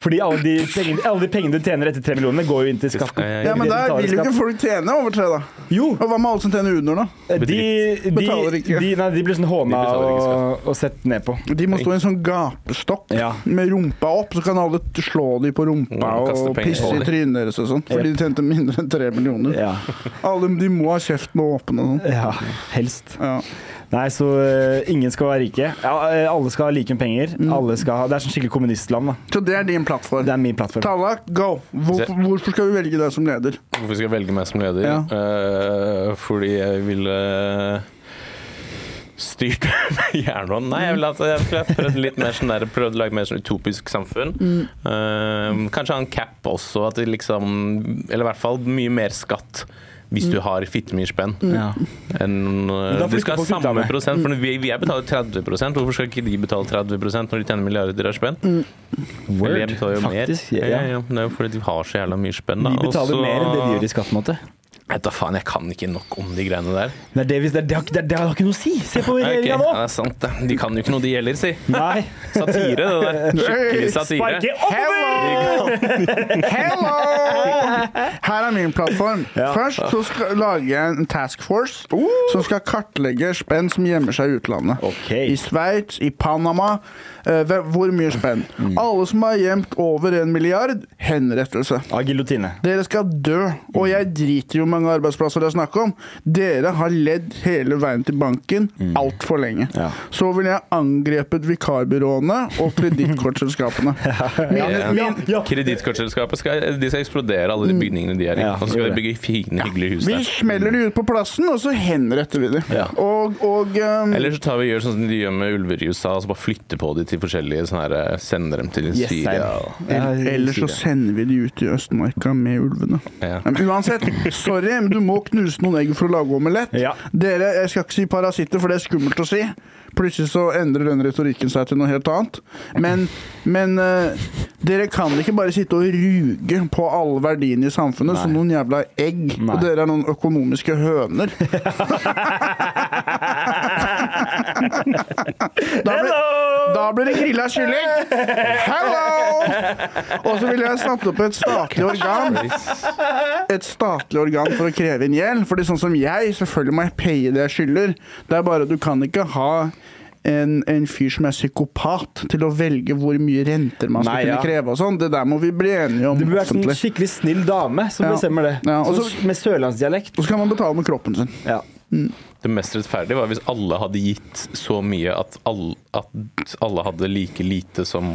Fordi alle de, pengene, alle de pengene du tjener etter tre millionene, går jo inn til skatten.
Eh,
Ja, men
det
der
betaler
vil jo ikke
skatt.
folk tjene over tre, da.
Jo,
Og hva med alle som tjener under, da?
de, de,
Betaler
de,
ikke.
nei, de blir sånn håna
betaler ikke
og, og sett ned på.
De må stå i en sånn gapestokk
Ja.
med rumpa opp, så kan alle t- slå dem på rumpa
Og kaste
og
penger
pisse i
på dem.
trynet deres og sånn, fordi de tjente mindre enn tre millioner.
Ja,
Alle, de må ha kjeften åpen og sånn.
ja helst.
Ja.
Nei, så eh, ingen skal være rike. Ja, eh, alle skal ha like mye penger. Alle skal ha, det er sånn skikkelig kommunistland. Da.
Så det er din plattform.
Det er min plattform.
Tallak, go! Hvor,
Se.
hvorfor skal vi velge deg som leder?
Hvorfor skal jeg velge meg som leder?
Ja.
Eh, fordi jeg ville styrt (laughs) med jernhånd. Nei, jeg ville at jeg skulle ha prøvd litt mer sånn der, prøvd å lage mer sånn utopisk samfunn.
Mm.
Eh, kanskje ha en cap også, at det liksom Eller i hvert fall mye mer skatt. Hvis
Mm.
du har fitte mye spenn.
Ja.
enn, eh,
da
de
flytter
skal ha
folk
samme
utlandet.
prosent, for
Mm.
vi, vi er betaler 30 Hvorfor skal ikke de betale 30 når de tjener milliarder av spenn? Eller jeg betaler jo
Faktisk,
mer.
ja.
Ja, ja, men det er jo fordi de har så jævla mye spenn.
Vi betaler mer enn det de gjør i skatt. på en måte.
Vet da faen, jeg kan ikke nok om de greiene der.
Det, er det, vi- det, er- det, har ikke- det, er- det har ikke noe å si! Se på
Ok,
regjeringa
ja, det er sant, det. De kan jo ikke noe, de heller, si.
nå! Nei.
Satire, det
(laughs)
der. Skikkelig
Sparke
satire.
oppover!
Hello! Her er min plattform. Først så skal lager jeg en task force
Uh!
som skal kartlegge spenn som gjemmer seg i utlandet.
Ok.
I Sveits, i Panama. eh, hve- hvor mye spenn?
Mm.
Alle som har gjemt over en milliard, henrettelse.
Av giljotine.
Dere skal dø, og jeg driter i hvor mange arbeidsplasser det er snakk om. Dere har ledd hele veien til banken altfor lenge.
Mm. Ja.
Så ville jeg angrepet vikarbyråene og kredittkortselskapene.
Ja.
Mine,
(laughs) Ja,
mine,
ja.
Kredittkortselskapet skal, de skal eksplodere alle de bygningene de er i.
Mm. Ja,
Og så skal
gjør
de bygge fine, hyggelige hus
vi
der.
smeller de ut på plassen, og så henretter vi de.
Ja.
Og, og um,
Eller så tar vi og gjør sånn som de gjør med ulver i USA, og så bare flytter på de til forskjellige sånne her, Sender dem til
Yes,
Syria.
I'm- Ja,
el- Eller så
Syria.
sender vi de ut i Østmarka med ulvene.
Ja.
Men uansett, sorry, men du må knuse noen egg for å lage omelett.
Ja.
Dere, jeg skal ikke si parasitter, for det er skummelt å si. Plutselig så endrer den retorikken seg til noe helt annet. Men, men eh, dere kan ikke bare sitte og ruge på alle verdiene i samfunnet som noen jævla egg.
Nei.
Og dere er noen økonomiske høner.
(laughs)
da, blir, da blir det grilla kylling! Hello! Og så vil jeg snakke opp et statlig organ et statlig organ for å kreve inn gjeld. Fordi sånn som jeg, selvfølgelig må jeg paye det jeg skylder. Det er bare at du kan ikke ha en, en fyr som er psykopat til å velge hvor mye renter man skal
Nei, ja.
kunne kreve og sånn. Det der må vi bli enige om
Det burde vært en
offentlig.
sånn skikkelig snill dame som
Ja.
bestemmer det.
Ja, og
Sånn
så-
med sørlandsdialekt.
Og så kan man betale med kroppen sin.
Ja.
Det mest rettferdige var hvis alle hadde gitt så mye at alle, at alle hadde like lite som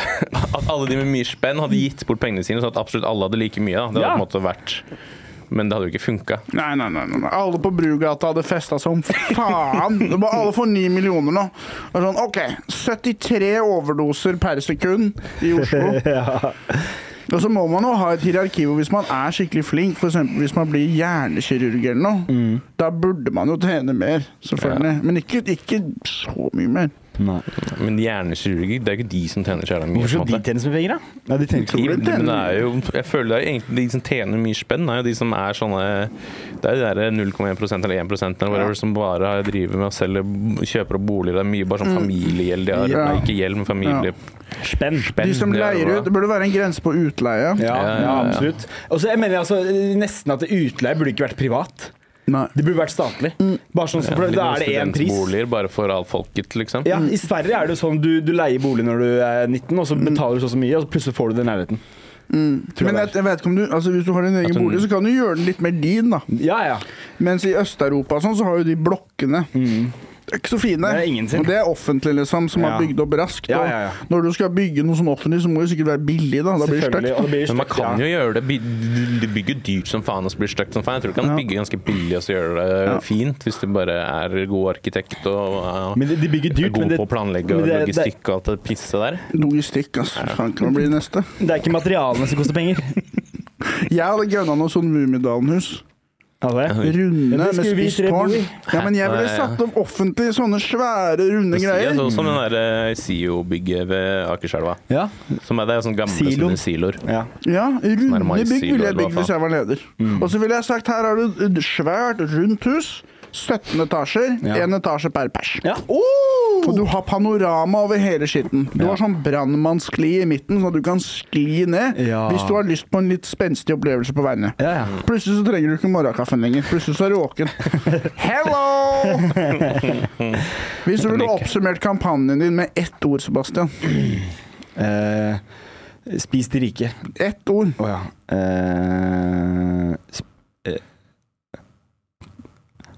(laughs) At alle de med mye spenn hadde gitt bort pengene sine, sånn at absolutt alle hadde like mye. Da. Det hadde
Ja.
på en måte vært Men det hadde jo ikke funka.
Nei, nei, nei, nei. nei. Alle på Brugata hadde festa som faen. Det var alle får ni millioner nå. Det var Sånn, OK, 73 overdoser per sekund i Oslo. Og så må man jo ha et hierarki hvor hvis man er skikkelig flink, f.eks. hvis man blir hjernekirurg eller noe, da burde man jo tjene mer, selvfølgelig. Men ikke, ikke så mye mer.
Nei.
Men hjernekirurger, det er jo ikke de som tjener så jævla mye.
Hvorfor skal
på en
de
måte.
tjene så mye penger, da? Nei, de tjener
Tror
ikke
du
Men
det?
det er jo, jeg føler det er egentlig de som tjener mye spenn, er jo de som er sånne Det er de der 0,1 eller 1 eller whatever, som bare har- driver med å selge, kjøper opp boliger. Det er mye bare sånn familiegjeld de har.
Ja.
Nei, ikke gjeld, men familie.
spenn.
De som
Mm, det er
leier
bra.
ut, det burde være en grense på utleie.
Ja, ja,
Ja, ja, ja.
absolutt. Og så jeg mener altså, nesten at utleie burde ikke vært privat.
Nei.
Det burde vært statlig.
Mm.
Bare sånn, så, for Da er det én pris.
Studentboliger bare for allfolket, liksom.
Ja, I Sverige er det jo sånn du, du leier bolig når du er 19, og så betaler du så og så mye, og så plutselig får du den leiligheten. Tror jeg
Mm.
det er.
Men jeg, jeg vet ikke om du, altså hvis du har din egen
den-
bolig, så kan du gjøre den litt mer din. da
Ja, ja.
Mens i Øst-Europa og sånn, så har jo de blokkene. Det er ikke så fine.
Mm. Det er ingen sin.
og det er offentlig, liksom, som
Ja.
er bygd opp raskt.
Ja,
og
ja, ja.
Når du skal bygge noe sånn offentlig, så må det sikkert være billig. da Da blir det
Selvfølgelig.
stygt.
Og det blir
Men man
stygt, ja.
kan jo gjøre det by- Du bygger dyrt som faen og så blir det stygt som faen. Jeg tror du
Ja.
kan bygge ganske billig og så gjøre det fint, hvis du bare er god arkitekt og uh,
Men de, de bygger dyrt,
god
men det,
på å planlegge
men
og
det- det-
logistikk og alt det pisset der.
Logistikk, altså. Faen, hva blir det neste?
det er ikke materialene som koster
(laughs)
penger.
Jeg hadde gønna noe sånn Mummidalen-hus.
Ja, det. Ja,
Runde
det
med
skulle vi
spisst
tre bo
tårn.
i.
Ja, men jeg ville
Nei, ja.
satt opp offentlig sånne svære, runde
Ja,
sånn
greier.
så- sånn Som den der eh, SIO-bygget ved Akerselva.
Ja.
Som er, det er sånne gamle
Siloen.
sånne siloer.
ja.
Ja, runde
Nærmere
bygg
siloer,
ville jeg
hva
bygd hvis
faen?
jeg var leder.
Mm.
Og så ville jeg sagt her har du et svært, rundt hus. 17 etasjer. Én
Ja.
etasje per pers.
Ja. Oh!
Og du har panorama over hele skitten. Du har sånn brannmannsskli i midten, sånn at du kan skli ned
Ja.
hvis du har lyst på en litt spenstig opplevelse på veiene.
Ja, ja.
Plutselig så trenger du ikke morgenkaffen lenger. Plutselig så er du (laughs) våken. Hello! Hvis du ville oppsummert kampanjen din med ett ord, Sebastian.
Eh, spis de rike.
Ett ord.
Å ja. Eh, sp eh.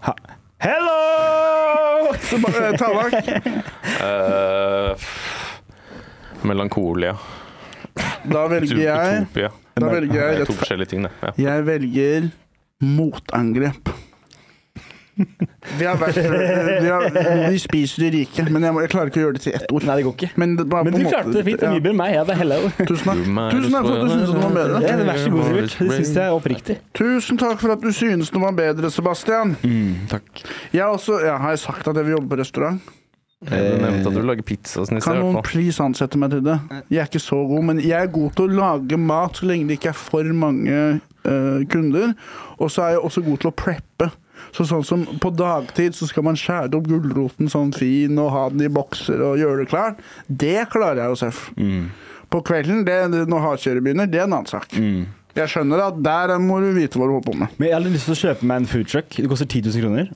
Ha. Hello!
Så bare eh, Tallak,
Eh, melankolia.
da velger jeg
Utopia.
Da velger jeg
Det er to
rettfer-
forskjellige ting, det. Ja.
Jeg velger
(laughs)
motangrep. Vi har vært Vi, har, vi spiser de rike, men jeg, må, jeg klarer ikke å gjøre det til ett ord.
Nei, det går ikke.
Men, det var
Men
på
du
en måte-
klarte det fint. Det er
ja.
mye bedre enn meg. Jeg hadde hello.
Tusen takk. Tusen takk for at du syntes det var bedre.
(laughs) Ja, vær så god, Sivert. Det syns jeg er oppriktig.
Tusen takk for at du synes den var bedre, Sebastian.
takk.
Jeg har også, ja, har jeg sagt at jeg vil jobbe på restaurant?
Du nevnte at du lager pizza. Sånn, i
Kan
stedet, i
noen
hvert fall.
please ansette meg til det? Jeg er ikke så god, men jeg er god til å lage mat så lenge det ikke er for mange eh, kunder. Og så er jeg også god til å preppe. Så sånn som På dagtid så skal man skjære opp gulroten sånn fin og ha den i bokser og gjøre det klart. Det klarer jeg jo, Seff.
Mm.
På kvelden, det, det- når hardkjøret begynner, det er en annen sak.
Mm.
Jeg skjønner at der må du vite hva du holder på med.
Men jeg hadde lyst til å kjøpe meg en foodtruck. Det koster 10 000 kroner.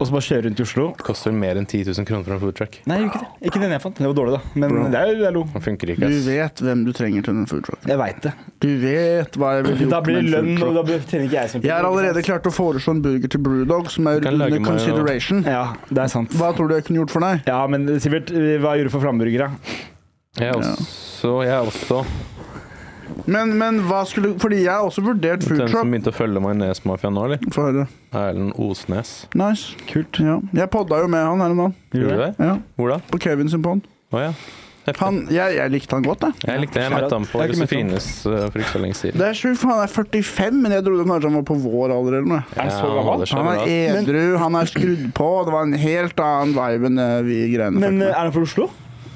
Og så bare kjøre rundt i Oslo.
Det koster mer enn 10 000 kroner for en foodtruck.
Nei, ikke det. Ikke den jeg fant. Det var dårlig, da. Men det er jo det er lo.
Den funker ikke,
Du
ass.
vet hvem du trenger til den foodtrucken.
Jeg veit det.
Du vet hva jeg vil gjort
Da blir det
med en
lønn,
foodtruck.
og da blir- tjener ikke jeg som
Jeg har allerede klart å foreslå en burger til Brewdog som er
Du kan lage
under
mayo.
consideration.
Ja, det er sant.
Hva tror du jeg kunne gjort for deg?
Ja, men Sivert, eh, hva gjorde du for framburgere?
Jeg også, jeg også
Men, men hva skulle Fordi jeg har også vurdert
Den som
foodtruck.
begynte å følge Majonesmafiaen nå, eller?
Få høre.
Erlend Osnes.
Nice.
Kult.
Ja. Jeg podda jo med han her om dagen.
Gjorde du det?
Ja.
Hvor da?
På Kevin sin pod.
Å ja. Heftig.
Han, jeg, jeg likte han godt, jeg.
Jeg likte Jeg møtte ham på
Jeg har ikke møtt ham.
Josefines uh, for ikke så lenge siden.
Det er sjukt, for han er 45, men jeg trodde kanskje han var på vår alder eller noe.
Er han så gammel?
holder seg
Han
bra.
er edru, han er skrudd på, og det var en helt annen vibe enn det vi greiene
Men eh,
fikk.
er han fra Oslo?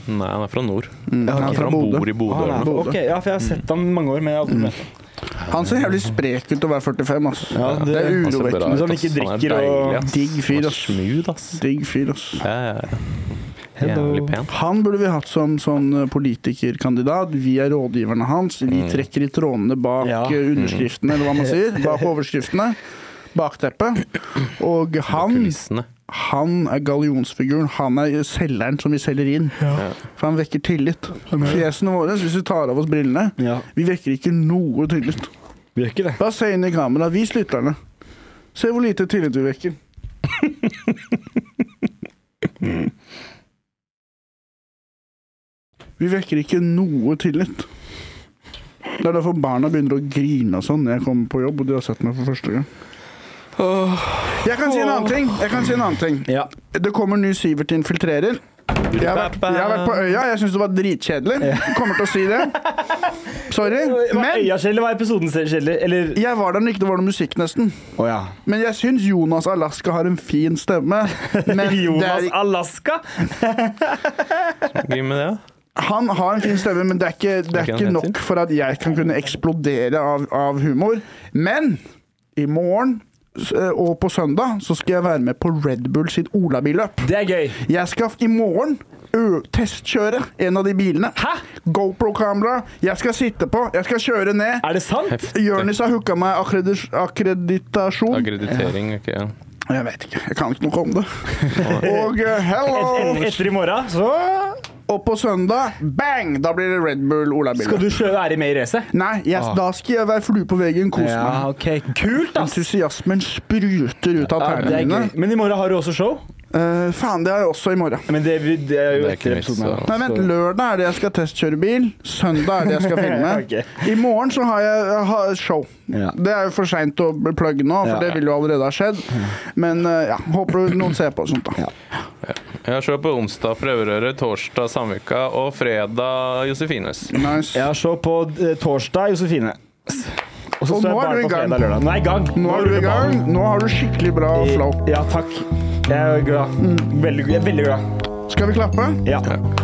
Nei, han er fra nord.
Mm, Han er
Jeg tror
fra
han
Bodø.
bor i Bodø.
Han
eller
er,
noe.
Bodø.
ok, ja, for jeg har sett han mange år, men jeg har aldri møtt ham.
Han ser jævlig sprek ut til å være 45, altså.
Ja,
Det er
Han ser bra
urovekkende.
Men så han
ut, ass.
ikke
er
drikker og-
deilig, ass.
Digg fyr,
Han er
ass.
Smooth, ass.
Digg fyr, ass.
Ja, ja, ja.
Hello.
Jævlig pen.
Han burde vi hatt som sånn politikerkandidat. Vi er rådgiverne hans. Vi trekker i trådene bak
Ja.
eh, underskriftene, eller hva man sier. Bak overskriftene. Bakteppet. Og han,
Kulissene.
han er gallionsfiguren. Han er selgeren som vi selger inn. For han vekker tillit. Fjesene våre, hvis vi tar av oss brillene
Ja,
Vi vekker ikke noe tillit.
vi gjør ikke det.
Bare se inn i kamera. Vis lytterne. Se hvor lite tillit vi vekker. (laughs) Vi vekker ikke noe tillit. Det er derfor barna begynner å grine og sånn når jeg kommer på jobb og de har sett meg for første gang. Jeg kan si en annen ting. Jeg kan si en annen ting.
Ja.
Det kommer ny Sivert infiltrerer. Jeg har vært, jeg har vært på øya, jeg syns det var dritkjedelig. Kommer til å si det. Sorry,
Var
men
øya skjellig, var episoden skjellig? Eller
jeg var der når det ikke var noe musikk, nesten.
Å ja.
Men jeg syns Jonas Alaska har en fin stemme.
(laughs)
Men det
Jonas
er,
Alaska?
Gøy med det, da.
han har en fin stemme, men det er ikke, det er
Ikke
ikke
han
nok
heter.
for at jeg kan kunne eksplodere av, av humor. Men i morgen s- eh, og på søndag så skal jeg være med på Red Bull sitt Olabilløp.
Det er gøy.
Jeg skal i morgen ø, testkjøre en av de bilene.
Hæ?
GoPro-kamera. Jeg skal sitte på. Jeg skal kjøre ned.
Er det sant?
Heftig.
Jonis har hooka meg akkredis- akkreditasjon.
Akkreditering, ikke
Jeg vet ikke. Jeg kan ikke
(laughs)
noe om det. Og ø, hello!
Etter i morgen, så
Og på søndag, bang! Da blir det Red Bull
Skal
Olabil.
du Ah. sjø- være med i racet?
Nei, jeg, da skal jeg være flue på veggen. Kose meg.
OK. Kult, ass!
Entusiasmen spruter ut av
Ja, det
tærne
er
mine.
gøy. Men i morgen har du også show?
Eh, faen, det har jeg også i morgen.
Men det, det er jo
Det er ikke
etter
vits,
episoden. her,
så-
da.
Nei, vent, Lørdag er det jeg skal testkjøre bil. Søndag er
(laughs)
det jeg skal filme.
Ok.
I morgen så har jeg jeg har et show.
Ja.
Det er jo for seint å plugge nå, for
Ja.
det ville jo allerede ha skjedd. Men eh, ja, håper noen ser på og sånt, da.
Jeg har show på onsdag Prøverøret, torsdag Samvika og fredag Josefines.
Nice.
Jeg har show på eh, torsdag, Josefine. Og så
Og
står
nå
jeg
er
bare
du i
på
gang.
fredag og lørdag. Nå er jeg i gang.
Nå er du i gang. Nå har du skikkelig bra flow.
Ja, takk. Jeg er glad. Veldig, jeg er veldig glad.
Skal vi klappe?
Ja.